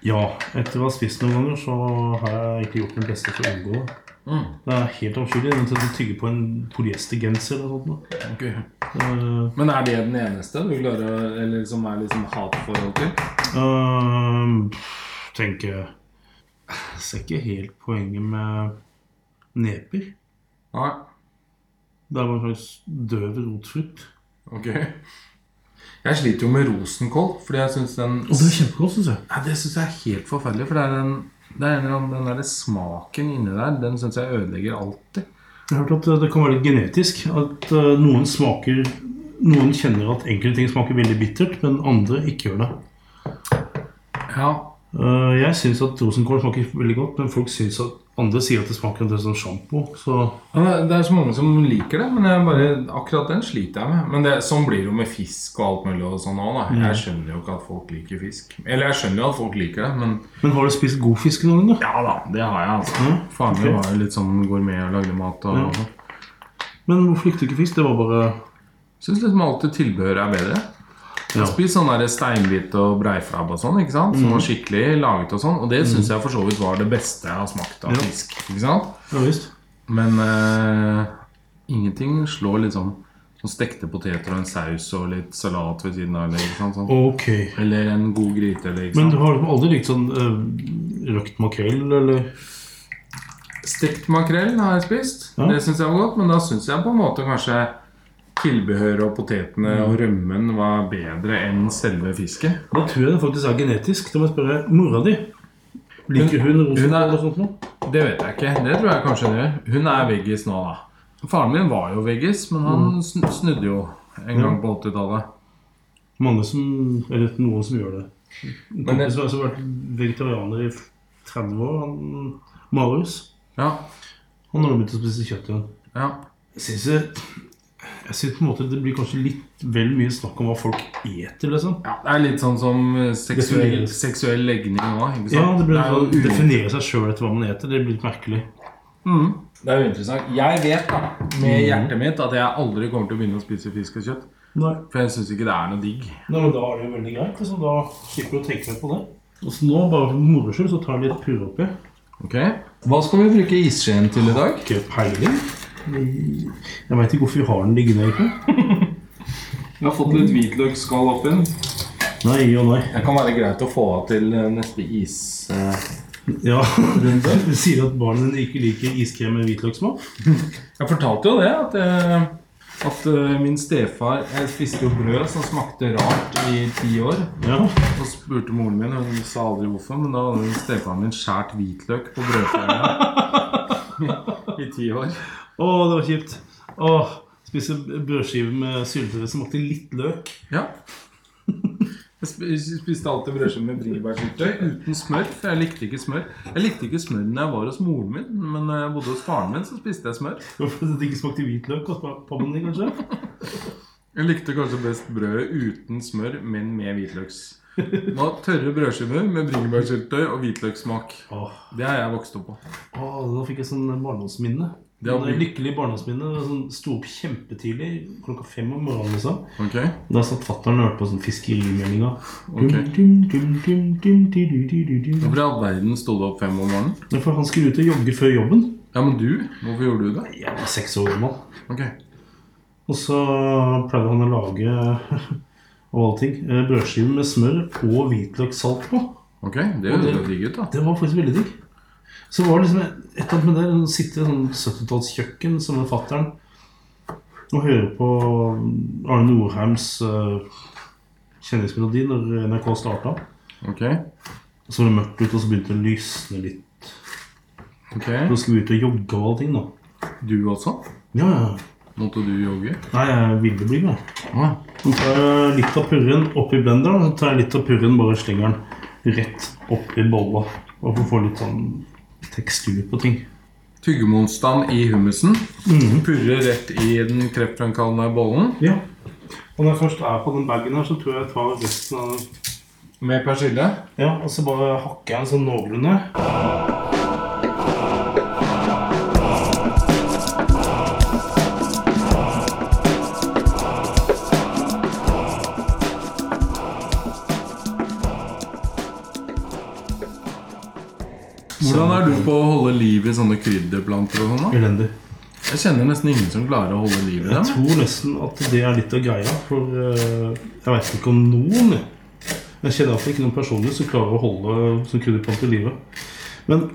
Ja, etter å ha spist noen ganger, så har jeg ikke gjort mitt beste for å unngå det. Det er helt avskyelig. Det er sånn at Du tygger på en polyestergenser eller noe sånt. Eh, noe. Det er-
Men er det den eneste du klarer å Eller som er liksom hatforhold til?
Øhm, ehm, tenker Jeg ser ikke helt poenget med neper.
Nei.
Det er bare en slags døv rotfrukt.
Ok. Jeg sliter jo med rosenkål, fordi jeg syns den
Og det er kjempegodt, syns jeg.
Nei, det syns jeg er helt forferdelig. For det er den, det er en eller annen- den der smaken inni der, den syns jeg ødelegger alltid.
Jeg har hørt at eh, det kan være litt genetisk. At eh, noen smaker Noen kjenner at enkelte ting smaker veldig bittert, men andre ikke gjør det.
Ja.
Eh, Jeg syns at rosenkål smaker veldig godt, men folk synes at andre sier at det smaker en del som sjampo. Så
Ja, Det det er så mange som liker det, men jeg bare, akkurat den sliter jeg med. Men det, Sånn blir det jo med fisk og alt mulig. og sånn også, da. Jeg skjønner jo ikke at folk liker fisk. Eller jeg skjønner jo at folk liker det, men
Men har du spist god fisk noen gang? da?
ja da, det har jeg. altså.
Mm.
Faren min
Ok.
var jo litt sånn gourmet og lagde mat. og
Ja. Men hvorfor likte du ikke fisk? Det var bare
Syns liksom alltid tilbehør er bedre.
Ja.
Spis sånn der steinbit og breiflabb og sånn, ikke sant? som var skikkelig laget og sånn. Og det syns jeg for så vidt var det beste jeg har smakt av
Ja.
fisk. ikke sant?
Ja visst.
Men eh, ingenting slår liksom sånn stekte poteter og en saus og litt salat ved siden av. Eller, ikke sant, sånn.
Ok.
eller en god gryte. Eller, ikke
Men
sant?
du har liksom aldri likt sånn eh, røkt makrell, eller
Stekt makrell har jeg spist.
Ja.
Det syns jeg var godt. Men da syns jeg på en måte kanskje tilbehøret og potetene
Mm.
og rømmen var bedre enn selve fisket.
Da tror jeg det faktisk er genetisk. Da må jeg spørre mora di. Liker hun
Hun
rosenkål
er-
eller sånt noe?
Det vet jeg ikke. Det tror jeg kanskje hun gjør. Hun er veggis nå, da. Faren min var jo veggis, men han
Mm.
sn- snudde jo en gang på 80-tallet.
Mange som, eller noen som gjør det. En
Men det-
kompis som har vært vegetarianer i 30 år, han, Marius,
Ja,
han har nå begynt å spise kjøtt igjen.
ja.
Jeg synes, jeg, jeg synes på en måte det blir kanskje litt vel mye snakk om hva folk eter, liksom.
Ja, det er litt sånn som eh, seksuell,
Defineres.
seksuell legning òg.
Ja, det blir sånn,
jo uro-
definere seg selv etter hva man eter, det blir litt merkelig.
Det er jo interessant. Jeg vet da,
Mm.
med hjertet mitt at jeg aldri kommer til å begynne å spise fisk og kjøtt.
Nei.
For jeg syns ikke det er noe digg.
Nei, men Da er det jo veldig greit. Liksom. Da slipper du å tenke mer på det. Og så Altså, nå, bare for moro skyld, så tar vi litt purre oppi.
Ok? Hva skal vi bruke isskjeen til i dag?
Ikke peiling. Jeg veit ikke hvorfor vi har den liggende, egentlig.
Jeg har fått litt hvitløksskall oppi den.
Nei og nei.
Det kan være greit å få av til eh, neste is... eh,
Ja, Du sier at barnet ikke liker iskrem med hvitløkssmak?
Jeg fortalte jo det, at, eh, at eh, min stefar Jeg spiste jo brød som smakte rart i ti år.
Ja.
Og spurte moren min, og hun sa aldri hvorfor, men da hadde stefaren min skåret hvitløk på brødskiva i ti år.
Å, det var kjipt. Å, spise brødskive med syltetøy som smakte litt løk.
Ja. Jeg sp- spiste alltid brødskive med bringebærsyltetøy uten smør, for jeg likte ikke smør. Jeg likte ikke smør når jeg var hos moren min, men når jeg bodde hos faren min, så spiste jeg smør.
Fordi det ikke smakte hvitløk og smakte pommes din, kanskje?
Jeg likte kanskje best brødet uten smør, men med hvitløks. Det var tørre brødskiver med bringebærsyltetøy og hvitløkssmak.
Åh,
Det har jeg vokst opp på.
åh, da fikk jeg sånn barndomsminne.
Det har
Sånn Lykkelig barndomsminne. Sånn, Sto opp kjempetidlig, klokka fem om morgenen. liksom
Ok,
Da satt fatter'n og hørte på sånn fiskerimeldinga.
ok.
Okay.
Hvorfor i all verden sto du opp fem om morgenen?
For han skulle ut og jogge før jobben.
Ja, men du? Hvorfor gjorde du det?
Jeg var seks år gammel.
Ok.
Og så pleide han å lage av alle ting, eh, brødskiver med smør og hvitløkssalt på.
Ok, det høres jo digg ut, da.
Det var faktisk veldig digg. Så var det liksom et eller annet med det. Å sitte i sånn 70-tallskjøkken som med fatter'n og høre på mm, Arne Norheims eh, kjenningsmelodi når NRK starta.
Ok.
Så var det mørkt ute, og så begynte det å lysne litt.
ok.
Og så skulle vi ut og jogge og alle ting, da.
Du også?
Ja, ja.
Måtte du jogge?
Nei, jeg ville bli med.
Ah.
Så tar jeg litt av purren oppi blenderen, så tar jeg litt av purren bare slenger den rett oppi bolla. Og for å få litt sånn tekstur på ting.
Tyggemotstand i hummusen. Purre rett i den kreftfremkallende bollen.
Ja. Og når jeg først er på den bagen her, så tror jeg jeg tar resten av den.
Med persille.
Ja, og så bare hakker jeg den sånn noenlunde.
Hvordan er du på å holde liv i sånne krydderplanter og sånn? da?
Elendig.
Jeg kjenner nesten ingen som klarer å holde liv i
Jeg
dem.
tror nesten at det er litt av greia, for eh, jeg veit ikke om noen jeg. Jeg kjenner iallfall ikke noen personer som klarer å holde som krydderplanter i live. Men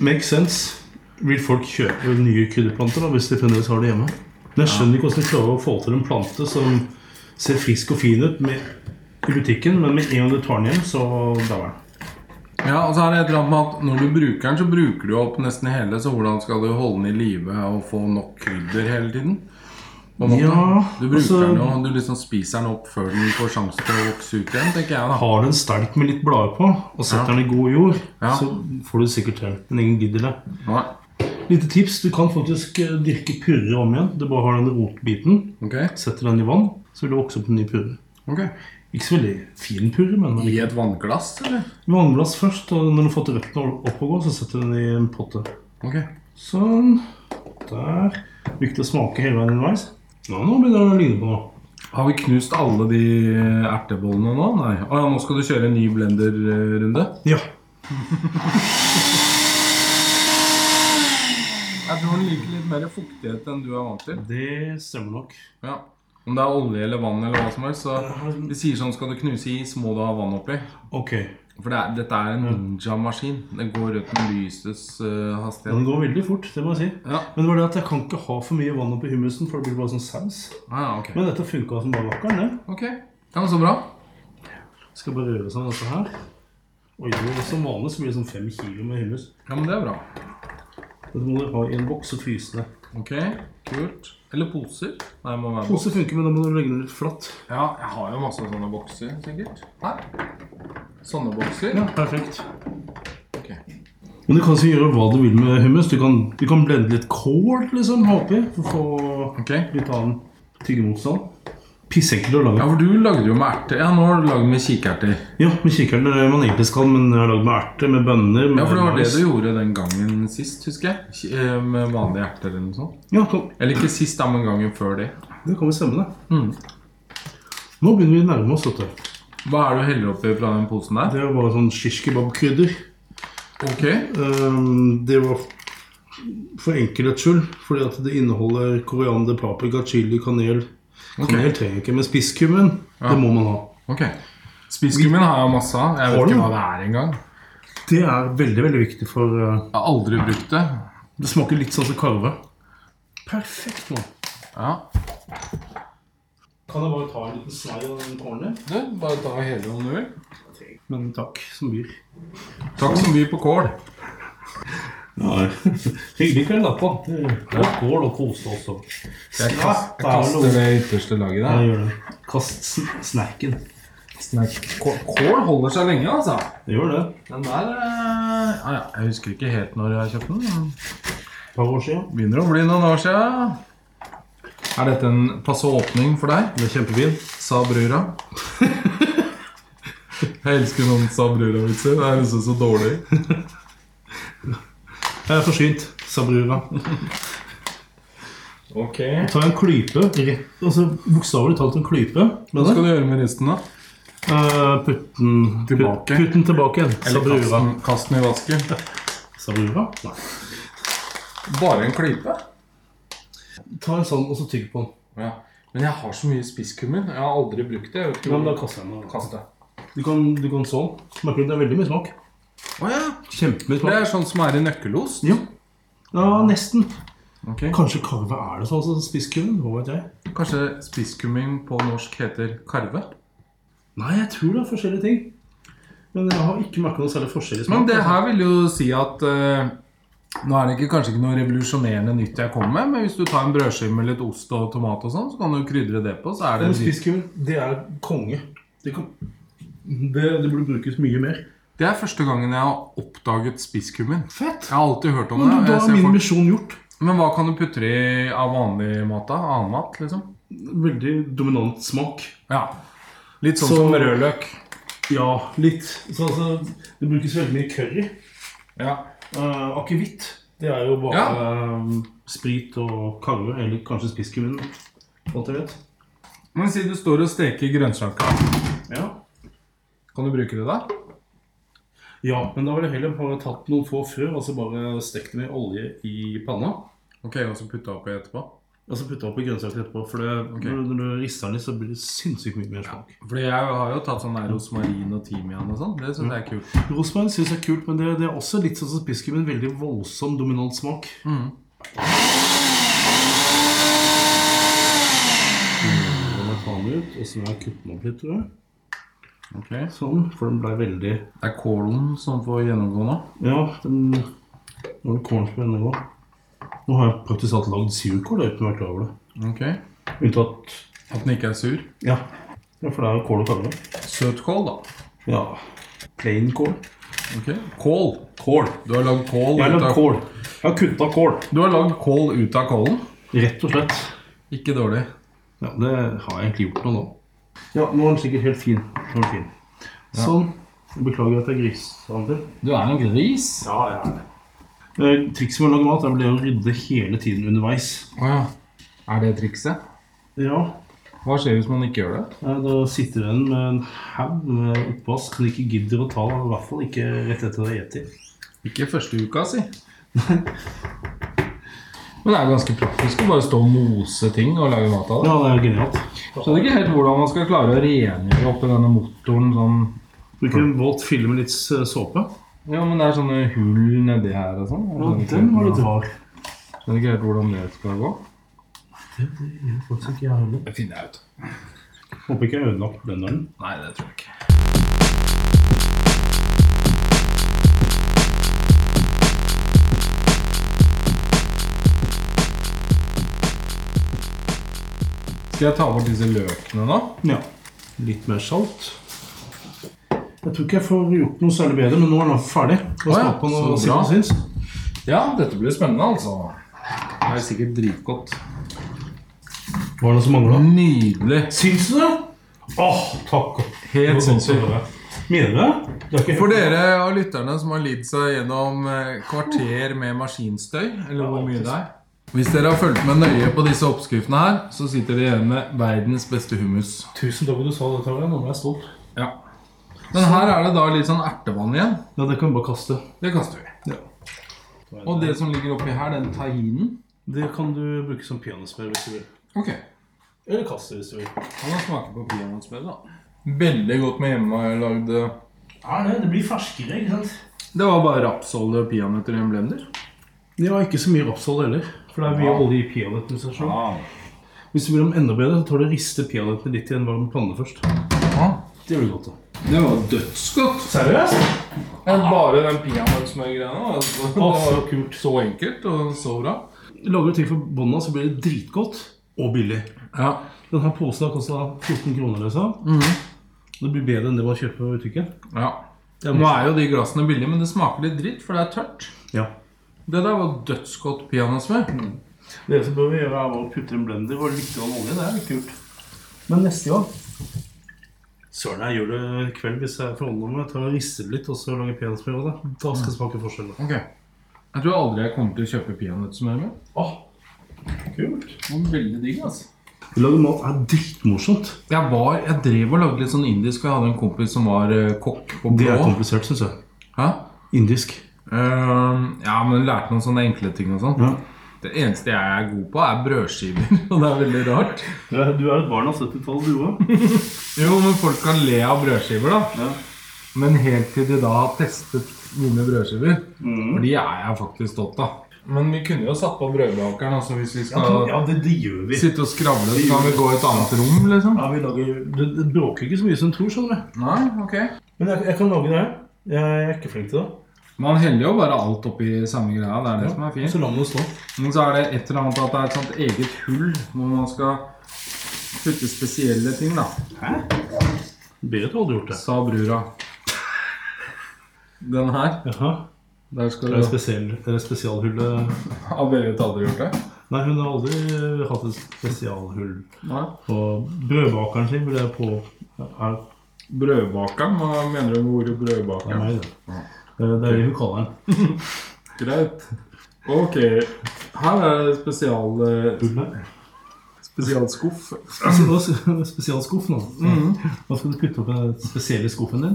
make sense. Vil folk kjøpe nye krydderplanter da, hvis de fremdeles har det hjemme? Men jeg skjønner ikke hvordan de klarer å få til en plante som ser frisk og fin ut med, i butikken, men med en gang du tar den hjem, så der var den.
Ja, og så er det et eller annet med at Når du bruker den, så bruker du opp nesten hele, så hvordan skal du holde den i live og få nok krydder hele tiden? På en måte.
Ja,
du bruker
altså-
den jo, og du liksom spiser den opp før den får sjanse til å vokse ut igjen, tenker jeg. da
Har du en stelk med litt blader på, og setter
Ja.
den i god jord,
Ja.
så får du sikkert til. Men ingen gidder det.
Nei.
Lite tips. Du kan faktisk eh, dyrke purre om igjen. Du bare har den rotbiten,
Ok,
setter den i vann, så vil det vokse opp en ny purre.
ok
Ikke så veldig fin purre, men
I et vannglass, eller?
vannglass først. Og når du har fått røttene opp og gå, så setter du den i en potte.
Ok
Sånn. Der. Viktig å smake hele veien underveis. Ja, nå begynner den å ligne på noe.
Har vi knust alle de ertebollene nå? Nei. Å ja, nå skal du kjøre en ny blenderrunde?
Ja.
Jeg tror den liker litt mer fuktighet enn du er vant til.
Det stemmer nok.
Ja. Om det er olje eller vann eller hva som helst, så
har-
de sier sånn skal du knuse is, må du ha vann oppi.
Ok.
For det er, dette er en ninja-maskin. Den går uten lysets eh,
Den
hastighet.
går veldig fort, det må jeg si.
Ja,
Men det var det at jeg kan ikke ha for mye vann oppi hummusen, for det blir bare sånn saus.
ah, ja, ok.
Men dette funka som bare rakkeren, det.
Ok, ja, men Så bra.
Skal bare røre sånn dette her. Og jo, som vanlig så blir det sånn fem kilo med hummus.
Ja, men Det er bra.
Dette må dere ha i en boks og fryse ned.
Ok, Kult. Eller poser. Nei, det må være
Pose funker, men da må du legge den litt flatt.
Ja, jeg har jo masse sånne bokser, sikkert. Nei. Sånne bokser?
Ja, perfekt.
Ok.
Men du kan også gjøre hva du vil med hummus. Du kan, du kan blende litt kål, liksom, oppi, for å få
Ok.
litt annen tyggemotstand. pissekkelt å
Ja,
lage.
for du lagde jo med erter. Ja, nå har du lagd med kikerter.
Ja, med kikerten er det man egentlig skal, men jeg har lagd med erter, med bønner med
Ja, for det var det
mais.
du gjorde den gangen sist, husker jeg. Ki- eh, Med vanlige erter eller noe sånt.
Ja, sånn.
Eller ikke sist, da, men gangen før det.
Det kan vi stemme, det.
Mm.
Nå begynner vi å nærme oss dette.
Hva er det du heller oppi fra den posen der?
Det er bare sånn shish kebab-krydder.
Ok,
Ehm, det var for enkelhets skyld, fordi at det inneholder koriander, paprika, chili, kanel. Kanel trenger jeg ikke, men spisskummen, det må man ha.
ok. Spisskummin har jeg masse av. Jeg
Har
vet
du?
ikke hva det er engang.
Det er veldig, veldig viktig for eh,
Jeg har aldri brukt det.
Det smaker litt sånn som karve. Perfekt, mann.
Ja.
Kan jeg bare ta en liten snei av den tårnen?
Du, bare ta hele om du vil.
Men takk som byr.
Takk som by på kål.
Ja, Hyggelig kveld, da. på. Det er kål og kose også.
Jeg, kast, jeg kaster det ytterste laget
Ja,
der.
gjør det. Kast sn- snacken.
Snakk. Kål- Kål holder seg lenge, altså.
Det gjør det.
Den der eh, ah, ja, Jeg husker ikke helt når jeg kjøpte den. men
Et par år siden.
Begynner å bli noen år siden. Er dette en passe åpning for deg?
Det er kjempefin.
Sa brura. Jeg elsker noen sa brura-vitser. Det er liksom så dårlig.
Jeg er forsynt, sa brura.
Ok.
Ta en klype, rett, altså bokstavelig talt en klype.
Hva
Med
skal
det.
du gjøre med resten, da?
Eh, putt den
Tilbake.
Putt, putt den tilbake igjen, sa
Eller kast
brura.
den, kast den i vasken?
Sa brura? Nei.
Bare en klype?
Ta en sånn, og så tygg på den.
Ja. Men jeg har så mye spisskummin. Jeg har aldri brukt det. Jeg vet ikke
Men da
hvor
kaster jeg den. da.
kaste.
Du kan, du kan sånn. Smaker det det er veldig mye smak.
Å ja.
Kjempemye
Det
smak.
er sånn som er i nøkkelost?
Ja. ja, nesten.
Ok.
Kanskje karve er det sånn som spisskummen? Hva vet jeg?
Kanskje spisskummin på norsk heter karve?
Nei, jeg tror det er forskjellige ting. Men jeg har ikke merket noen særlig forskjell i smak.
Men det her vil jo si at eh, Nå er det ikke, kanskje ikke noe revolusjonerende nytt jeg kommer med, men hvis du tar en brødskive med litt ost og tomat og sånn, så kan du krydre det på, så er det
Men Spisskummen, det er konge. Det, kan, det, det burde brukes mye mer.
Det er første gangen jeg har oppdaget spisskummin.
Fett!
Jeg har alltid hørt om
Men
det.
du,
og
da
jeg
er
ser
min
folk-
misjon gjort.
Men hva kan du putte i av vanlig mat, da? Annen mat, liksom?
Veldig dominant smak.
Ja. Litt sånn
Så-
som rødløk.
Ja, litt. Så altså, det brukes veldig mye curry.
Ja.
Uh, Akevitt. Det er jo bare eh, sprit og karve, eller kanskje spisskummen. Alt jeg vet.
Men si du står og steker grønnsaker,
Ja.
kan du bruke det da?
ja, men da ville jeg heller bare tatt noen få frø, og så bare stekt dem i olje i panna.
Ok, og så putte oppi etterpå?
Og så putte oppi grønnsaker etterpå, for det, når, når du rister den litt, så blir det sinnssykt mye mer smak.
Fordi jeg har jo tatt sånn der rosmarin og timian og sånn. Det syns jeg er kult.
Rosmarin syns jeg er kult, men det, det er også litt sånn som piskum, en veldig voldsom dominant smak. Mm, den er faen ut, og så må jeg kutte den opp litt, tror jeg.
Ok.
Sånn, for den ble veldig
Det er kålen som får gjennomgå nå.
Ja, den Nå er det corn på denne òg. Nå har jeg praktisk talt lagd surkål jeg, uten å være klar over det.
Ok.
Unntatt
At den ikke er sur.
Ja. ja for det er jo kål og karve.
Søtkål, da.
Ja. Plain kål.
Ok. Kål.
Kål.
Du har lagd kål,
Jeg har
ut
lagd
av-
kål. Jeg har kutta kål.
Du har lagd kål ut av kålen.
Rett og slett.
Ikke dårlig.
Ja, det har jeg egentlig gjort nå, nå. Ja, nå er den sikkert helt fin. Nå er den fin. Sånn. Jeg beklager at jeg griser den til.
Du er en gris.
Ja, Trikset med å lage mat er vel det å rydde hele tiden underveis.
Å ja. Er det trikset?
Ja,
Hva skjer hvis man ikke gjør det?
eh, da sitter du igjen med en haug med oppvask som du ikke gidder å ta, i hvert fall ikke rett etter å ha spist.
Ikke første uka, si. Men det er ganske praktisk å bare stå og mose ting og lage mat av det.
Ja, det er genialt.
Skjønner ikke helt hvordan man skal klare å rengjøre oppi denne motoren sånn
Bruker en våt fylle med litt eh, såpe.
Ja, men det er sånne hull nedi her og sånn. Jeg
Ja,
skjønner ikke
den
helt
var litt
hvordan-
rar.
Skjønner ikke helt hvordan det skal gå.
Faktisk ikke jeg heller.
Det finner jeg ut.
Håper ikke jeg har ødelagt blenderen.
Nei, det tror jeg ikke. Skal jeg ta bort disse løkene nå?
Ja. Litt mer salt. Jeg tror ikke jeg får gjort noe særlig bedre, men nå er den ferdig. Da
Å ja,
skal på noe
så bra.
siden syns.
Ja, dette blir spennende, altså. Det er sikkert dritgodt.
Var det noe som mangla?
Nydelig.
Syns du det? Åh, takk.
Helt
sånn
sinnssykt.
Mener du det? Det er ikke
For dere av lytterne som har lidd seg gjennom eh, kvarter med maskinstøy, eller hvor mye det er Hvis dere har fulgt med nøye på disse oppskriftene her, så sitter dere igjen med verdens beste hummus.
Tusen takk for at du sa det, Tavia. Nå ble jeg stolt.
Ja. Men her er det da litt sånn ertevann igjen.
Ja, det kan vi bare kaste.
Det kaster vi.
Ja.
Og det som ligger oppi her, den tahinen
Det kan du bruke som peanøttsmør hvis du vil.
Ok,
Eller kaste hvis du vil.
kan man smake på peanøttsmør, da. Veldig godt med hjemmelagd
Ja, det, det blir ferskere, ikke sant?
Det var bare rapsolje og peanøtter i en blender.
Ja, ikke så mye rapsolje heller. For det er mye olje i peanøttene. hvis jeg skjønner. Hvis du vil ha dem enda bedre, så tar du og rister peanøttene litt i en varm panne først.
Ja.
Det blir godt, da.
Det var dødsgodt.
Seriøst?
Men bare den peanøttsmørgreia. Altså, det var
så kult.
så enkelt og så bra.
Lager du ting for bånda, så blir det dritgodt og billig.
Ja.
Denne posen har kosta 14 kroner, eller så. Det blir bedre enn det man kjøper på butikken.
ja. Nå er jo de glassene billige, men det smaker litt dritt, for det er tørt.
Ja.
Det der var dødsgodt peanøttsmør.
Det som bør vi gjøre, er bare å putte en blender og litt grann olje. Det er litt kult. Men neste gang Søren, jeg gjør det i kveld hvis jeg forholder meg. Jeg tar og rister det litt, og så lager peanøttsmør av det. Da skal det smake forskjell. da.
Ok. Jeg tror aldri jeg kommer til å kjøpe peanøttsmør mer.
Kult.
Det var Veldig digg, altså.
Å lage mat er dritmorsomt.
Jeg, var, jeg drev og lagde litt sånn indisk, og jeg hadde en kompis som var eh, kokk på
Det
blå.
er komplisert, syns jeg.
Hæ?
Indisk.
Ehm, ja, men lærte noen sånne enkle ting og sånn.
Ja.
Det eneste jeg er god på, er brødskiver. Og det er veldig rart.
Du er, du er et barn av 70-tallet, du òg.
Jo, men folk kan le av brødskiver, da.
Ja.
Men helt til de da har testet mine brødskiver. For de er jeg faktisk stolt av. Men vi kunne jo satt på brødbakeren altså, hvis vi skal
Ja, det, det gjør vi.
sitte og skravle. Så kan vi gå i et annet rom, liksom.
Ja, vi lager, det, det bråker ikke så mye som tror, skjønner du.
Nei, ok.
Men jeg, jeg kan lage det her. Jeg er ikke flink til det.
Man heller jo bare alt oppi samme greia. Det er det som er fint.
Så la meg det stå.
Men så er det et eller annet at det er et sånt eget hull hvor man skal putte spesielle ting, da.
Berit hadde gjort det.
Sa brura. Den her.
Jaha.
Der skal
Det er
du
spesiell, det er spesialhullet
Har Berit aldri gjort det?
Nei, hun har aldri eh, hatt et spesialhull
Nei.
på brødbakeren sin. Vil jeg på er,
Brødbakeren? Hva mener du med ordet
er
brødbakeren?
meg, det. Eh, Det er det hun kaller den.
Greit. Ok. Her er det spesial, eh,
Hullet.
spesialskuff.
Altså, det var s- Spesialskuff nå.
Mm.
Hva skal du putte opp i den spesielle skuffen din?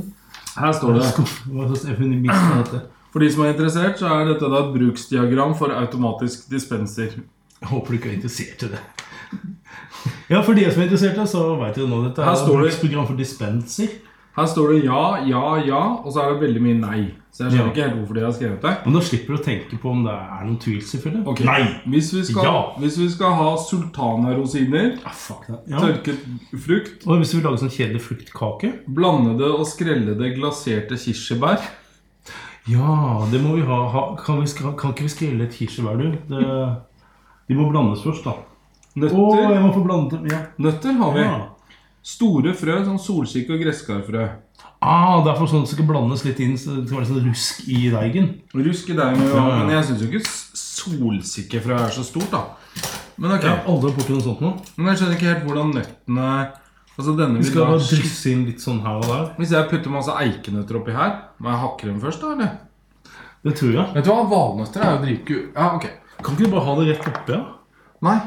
Her står det
Skuff. Hva slags eufemisme er dette?
For de som er interessert, så er dette da et bruksdiagram for automatisk dispenser.
Jeg håper du ikke er interessert i det. Ja, for de som er interesserte, så vet du nå dette.
Her står det-
et program for dispenser.
Her står det ja, ja, ja, og så er det veldig mye nei. Så jeg skjønner
Ja.
ikke helt hvorfor de har skrevet det.
Men da slipper du å tenke på om det er noen tvil, selvfølgelig.
Ok,
Nei!
Hvis vi skal,
Ja.
hvis vi skal ha sultanarosiner,
Ah, fuck det. Ja.
tørket frukt,
Og hvis du vil lage sånn kjedelig fruktkake
blandede og skrellede glaserte kirsebær
Ja, det må vi ha. ha kan, vi, skra- kan ikke vi skrelle et kirsebær, du? Det, de må blandes først, da. Å,
Nøtter,
jeg må få blande dem. Ja. Ah.
nøtter har vi.
Ja.
Store frø som solsikke og gresskarfrø.
Ah, derfor sånn at det skal blandes litt inn, så det skal være sånn rusk i deigen.
Rusk i deg med ja,
Ja, ja.
Men jeg syns jo ikke s- solsikkefrø er så stort, da. Men ok,
Jeg har aldri borti noe sånt nå.
men jeg skjønner ikke helt hvordan nøttene Altså denne
Vi
vil
skal
da
bare drysse inn litt sånn her og der.
Hvis jeg putter masse eikenøtter oppi her, må jeg hakke dem først, da? eller?
Det tror jeg.
Vet du hva, valnøtter er jo dritku... Ja, ok.
Kan ikke du bare ha det rett oppi? Ja?
Nei,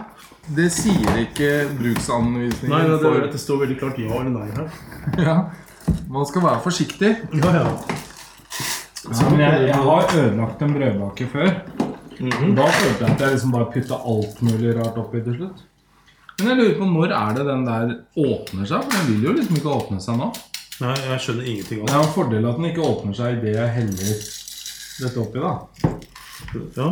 det sier ikke bruksanvisningen.
Nei, nei, det,
for-
det står veldig klart ja eller nei her.
ja. Man skal være forsiktig.
Ja, ja.
men jeg, jeg har ødelagt en brødbake før. Da følte jeg at jeg liksom bare putta alt mulig rart oppi til slutt. Men jeg lurer på når er det den der åpner seg? For Den vil jo liksom ikke åpne seg nå.
Nei, jeg skjønner ingenting
Det er jo en fordel at den ikke åpner seg idet jeg heller dette oppi, da.
det. Ja.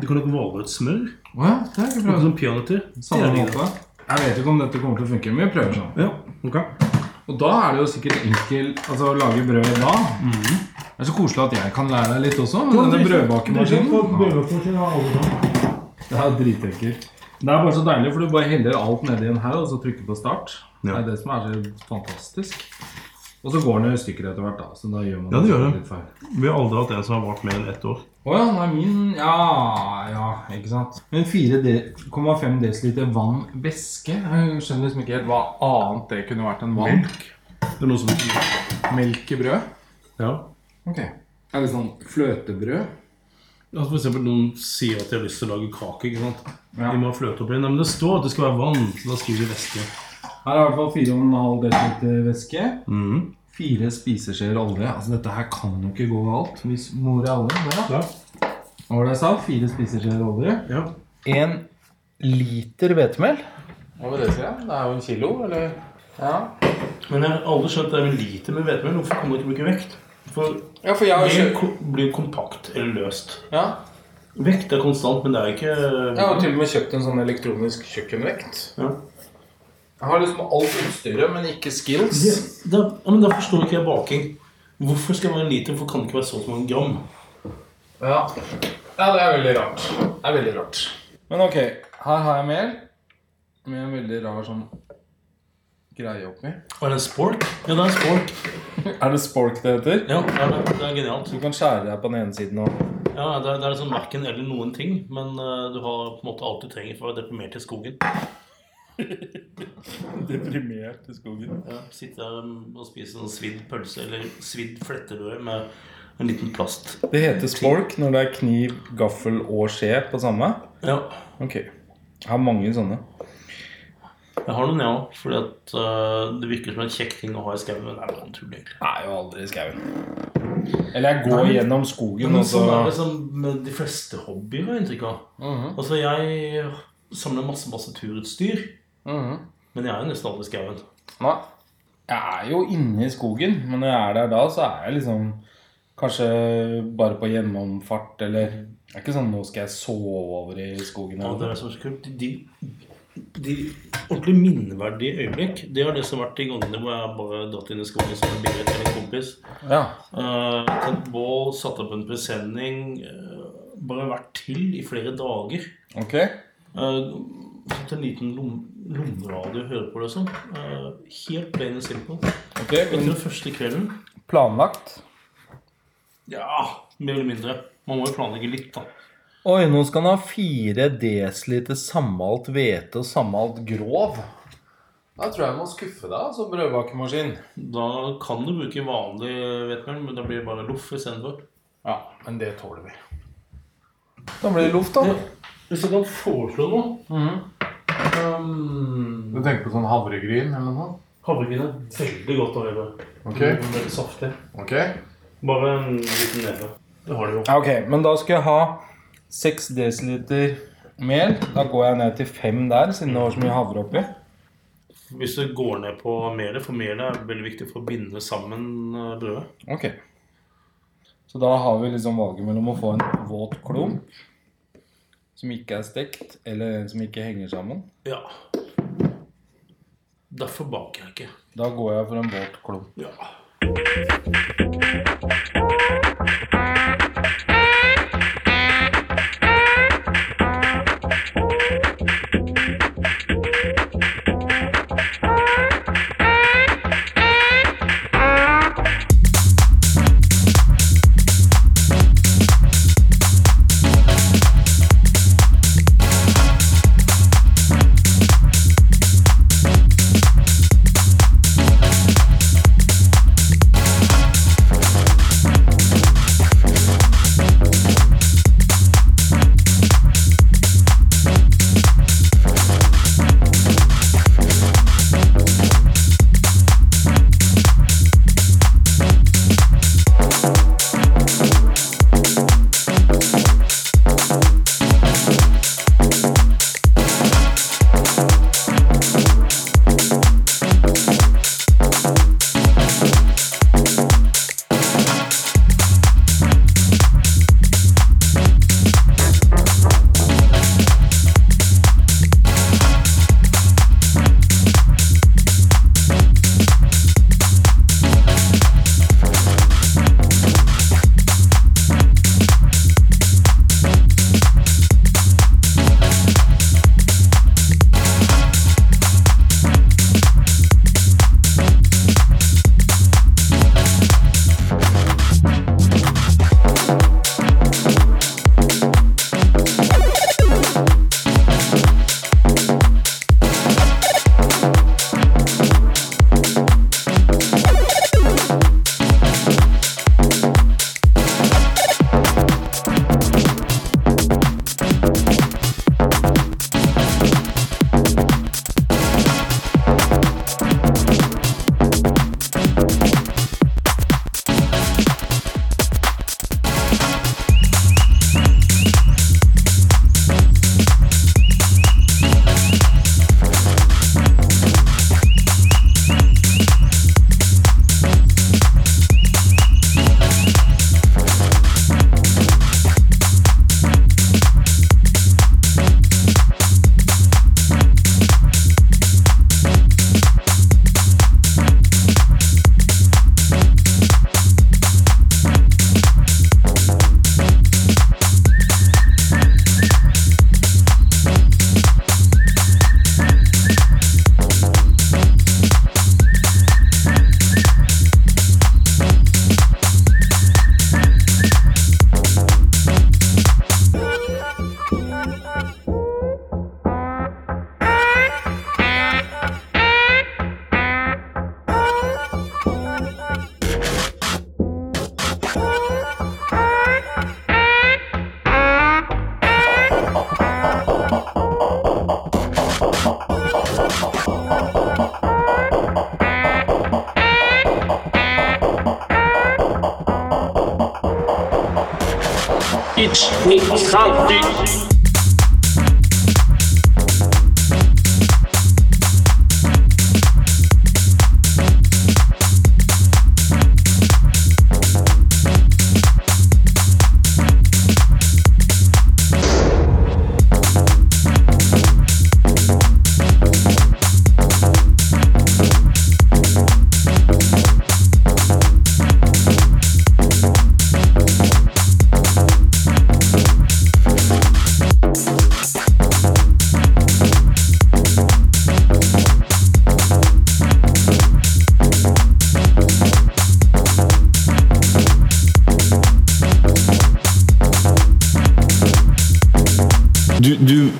Du kan lage valnøttsmør.
Å ja, det har jeg ikke
Akkurat
prøvd.
Som peanøtter.
Samme
Det er
måte. Jeg vet ikke om dette kommer til å funke, men vi prøver sånn.
det. Ja, ok.
Og da er det jo sikkert enkelt altså, å lage brød da. Mhm. Det er så koselig at jeg kan lære deg litt også. Men denne brødbakemaskinen Det er dritekker. Det er bare så deilig, for du bare heller alt nedi den her og så trykker på start. Det er det som er så fantastisk. Og så går den i stykker etter hvert, da. Så da gjør man
Ja, det gjør
sikkert
det.
litt feil.
Vi har aldri hatt en som har vart mer enn ett år.
Å ja, nei, min Ja, ja, ikke sant. Men 4,5 dl vann væske Jeg skjønner liksom ikke helt hva annet det kunne vært enn vann. Melk.
Det er noe som
Melk i brød?
Ja.
Ok. Er det sånn fløtebrød?
Altså for eksempel noen sier at de har lyst til å lage kake. ikke sant?
Ja.
De må ha fløte oppi. Nei, men det står at det skal være vann. Så da skriver de væske.
Her er i hvert fall 4,5 dl væske. Mm. Fire spiseskjeer olje. Altså, dette her kan jo ikke gå galt. Hvis mor er olje. Der, ja. Hva var det jeg sa? Fire spiseskjeer olje.
Ja.
En liter hvetemel. Hva var det, sier jeg? Det er jo en kilo, eller? Ja.
Men jeg har aldri skjønt det er vel lite med hvetemel. Hvorfor kan man ikke bruke vekt? For
Ja, for jeg har
det
kjøpt
ko- blir kompakt eller løst.
ja.
Vekt er konstant, men det er ikke
Jeg har til og med kjøpt en sånn elektronisk kjøkkenvekt.
Ja.
Jeg har liksom alt utstyret, men ikke skills.
Det, det, ja, men Da forstår ikke jeg baking. Hvorfor skal det være en liter? Hvorfor kan det ikke være så mange gram?
Ja. ja, det er veldig rart. Det er veldig rart. Men ok, her har jeg mel med en veldig rar sånn greie oppi.
Og er det en spork? Ja, det er en spork.
Er det spork det heter?
Ja, ja det, det er genialt.
Du kan skjære deg på den ene siden og
Ja, Det er, det er sånn verken eller noen ting, men eh, du har på en måte alt du trenger for å være deprimert i skogen.
Deprimert i skogen.
Ja, Sitte der og spise sånn svidd pølse eller svidd fletterød med en liten plast.
Det heter spork når det er kniv, gaffel og skje på samme.
Ja,
Ok. Jeg har mange sånne.
jeg har noen, jeg òg. Fordi at eh, det virker som en kjekk ting å ha i skauen. Men det er jo en tull, egentlig.
Jeg er jo aldri i skauen. Eller jeg går gjennom skogen,
Men
og så
sånn er det som med de fleste hobbyer, har jeg inntrykk av. Altså, jeg samler masse, masse turutstyr. Men jeg er jo nesten aldri i skauen.
Nei. Jeg er jo inne i skogen, men når jeg er der da, så er jeg liksom kanskje bare på gjennomfart, eller Det er ikke sånn 'nå skal jeg sove over i skogen'.
Og det
Eller.
er så kult. De, de ordentlig minneverdige øyeblikk, det har det som har vært de gangene hvor jeg har bare dratt inn i skogen som en billig til en kompis.
noe. Ja.
Uh, tent bål, satt opp en presenning. eh, bare vært til i flere dager.
Ok.
Uh, fått en liten lom lommeradio, høre på det og sånn. Eh, helt plain and simple.
ok,
Etter
men
den første kvelden
Planlagt.
Ja, mer eller mindre. Man må jo planlegge litt, da.
Oi, nå skal han ha 4 dl sammalt hvete og sammalt grov. Da tror jeg jeg må skuffe deg som brødbakemaskin.
Da kan du bruke vanlig hvetemel, men da blir det bare loff istedenfor.
Ja, men det tåler vi. Da blir det luft, da.
Hvis jeg kan foreslå noe
Du tenker på sånn havregryn eller noe?
Havregryn er veldig godt å øve.
Ok.
Veldig saftig.
ok.
Bare en liten neve. Det har du jo.
Ja, Ok, men da skal jeg ha 6 dl mel. Da går jeg ned til 5 der, siden det var så mye havre oppi.
Hvis du går ned på melet, for melet er veldig viktig for å binde sammen eh, brødet.
Ok. Så da har vi liksom valget mellom å få en våt klump som ikke er stekt, eller en som ikke henger sammen.
Ja. Derfor baker jeg ikke.
Da går jeg for en våt klump.
Ja.
Du, du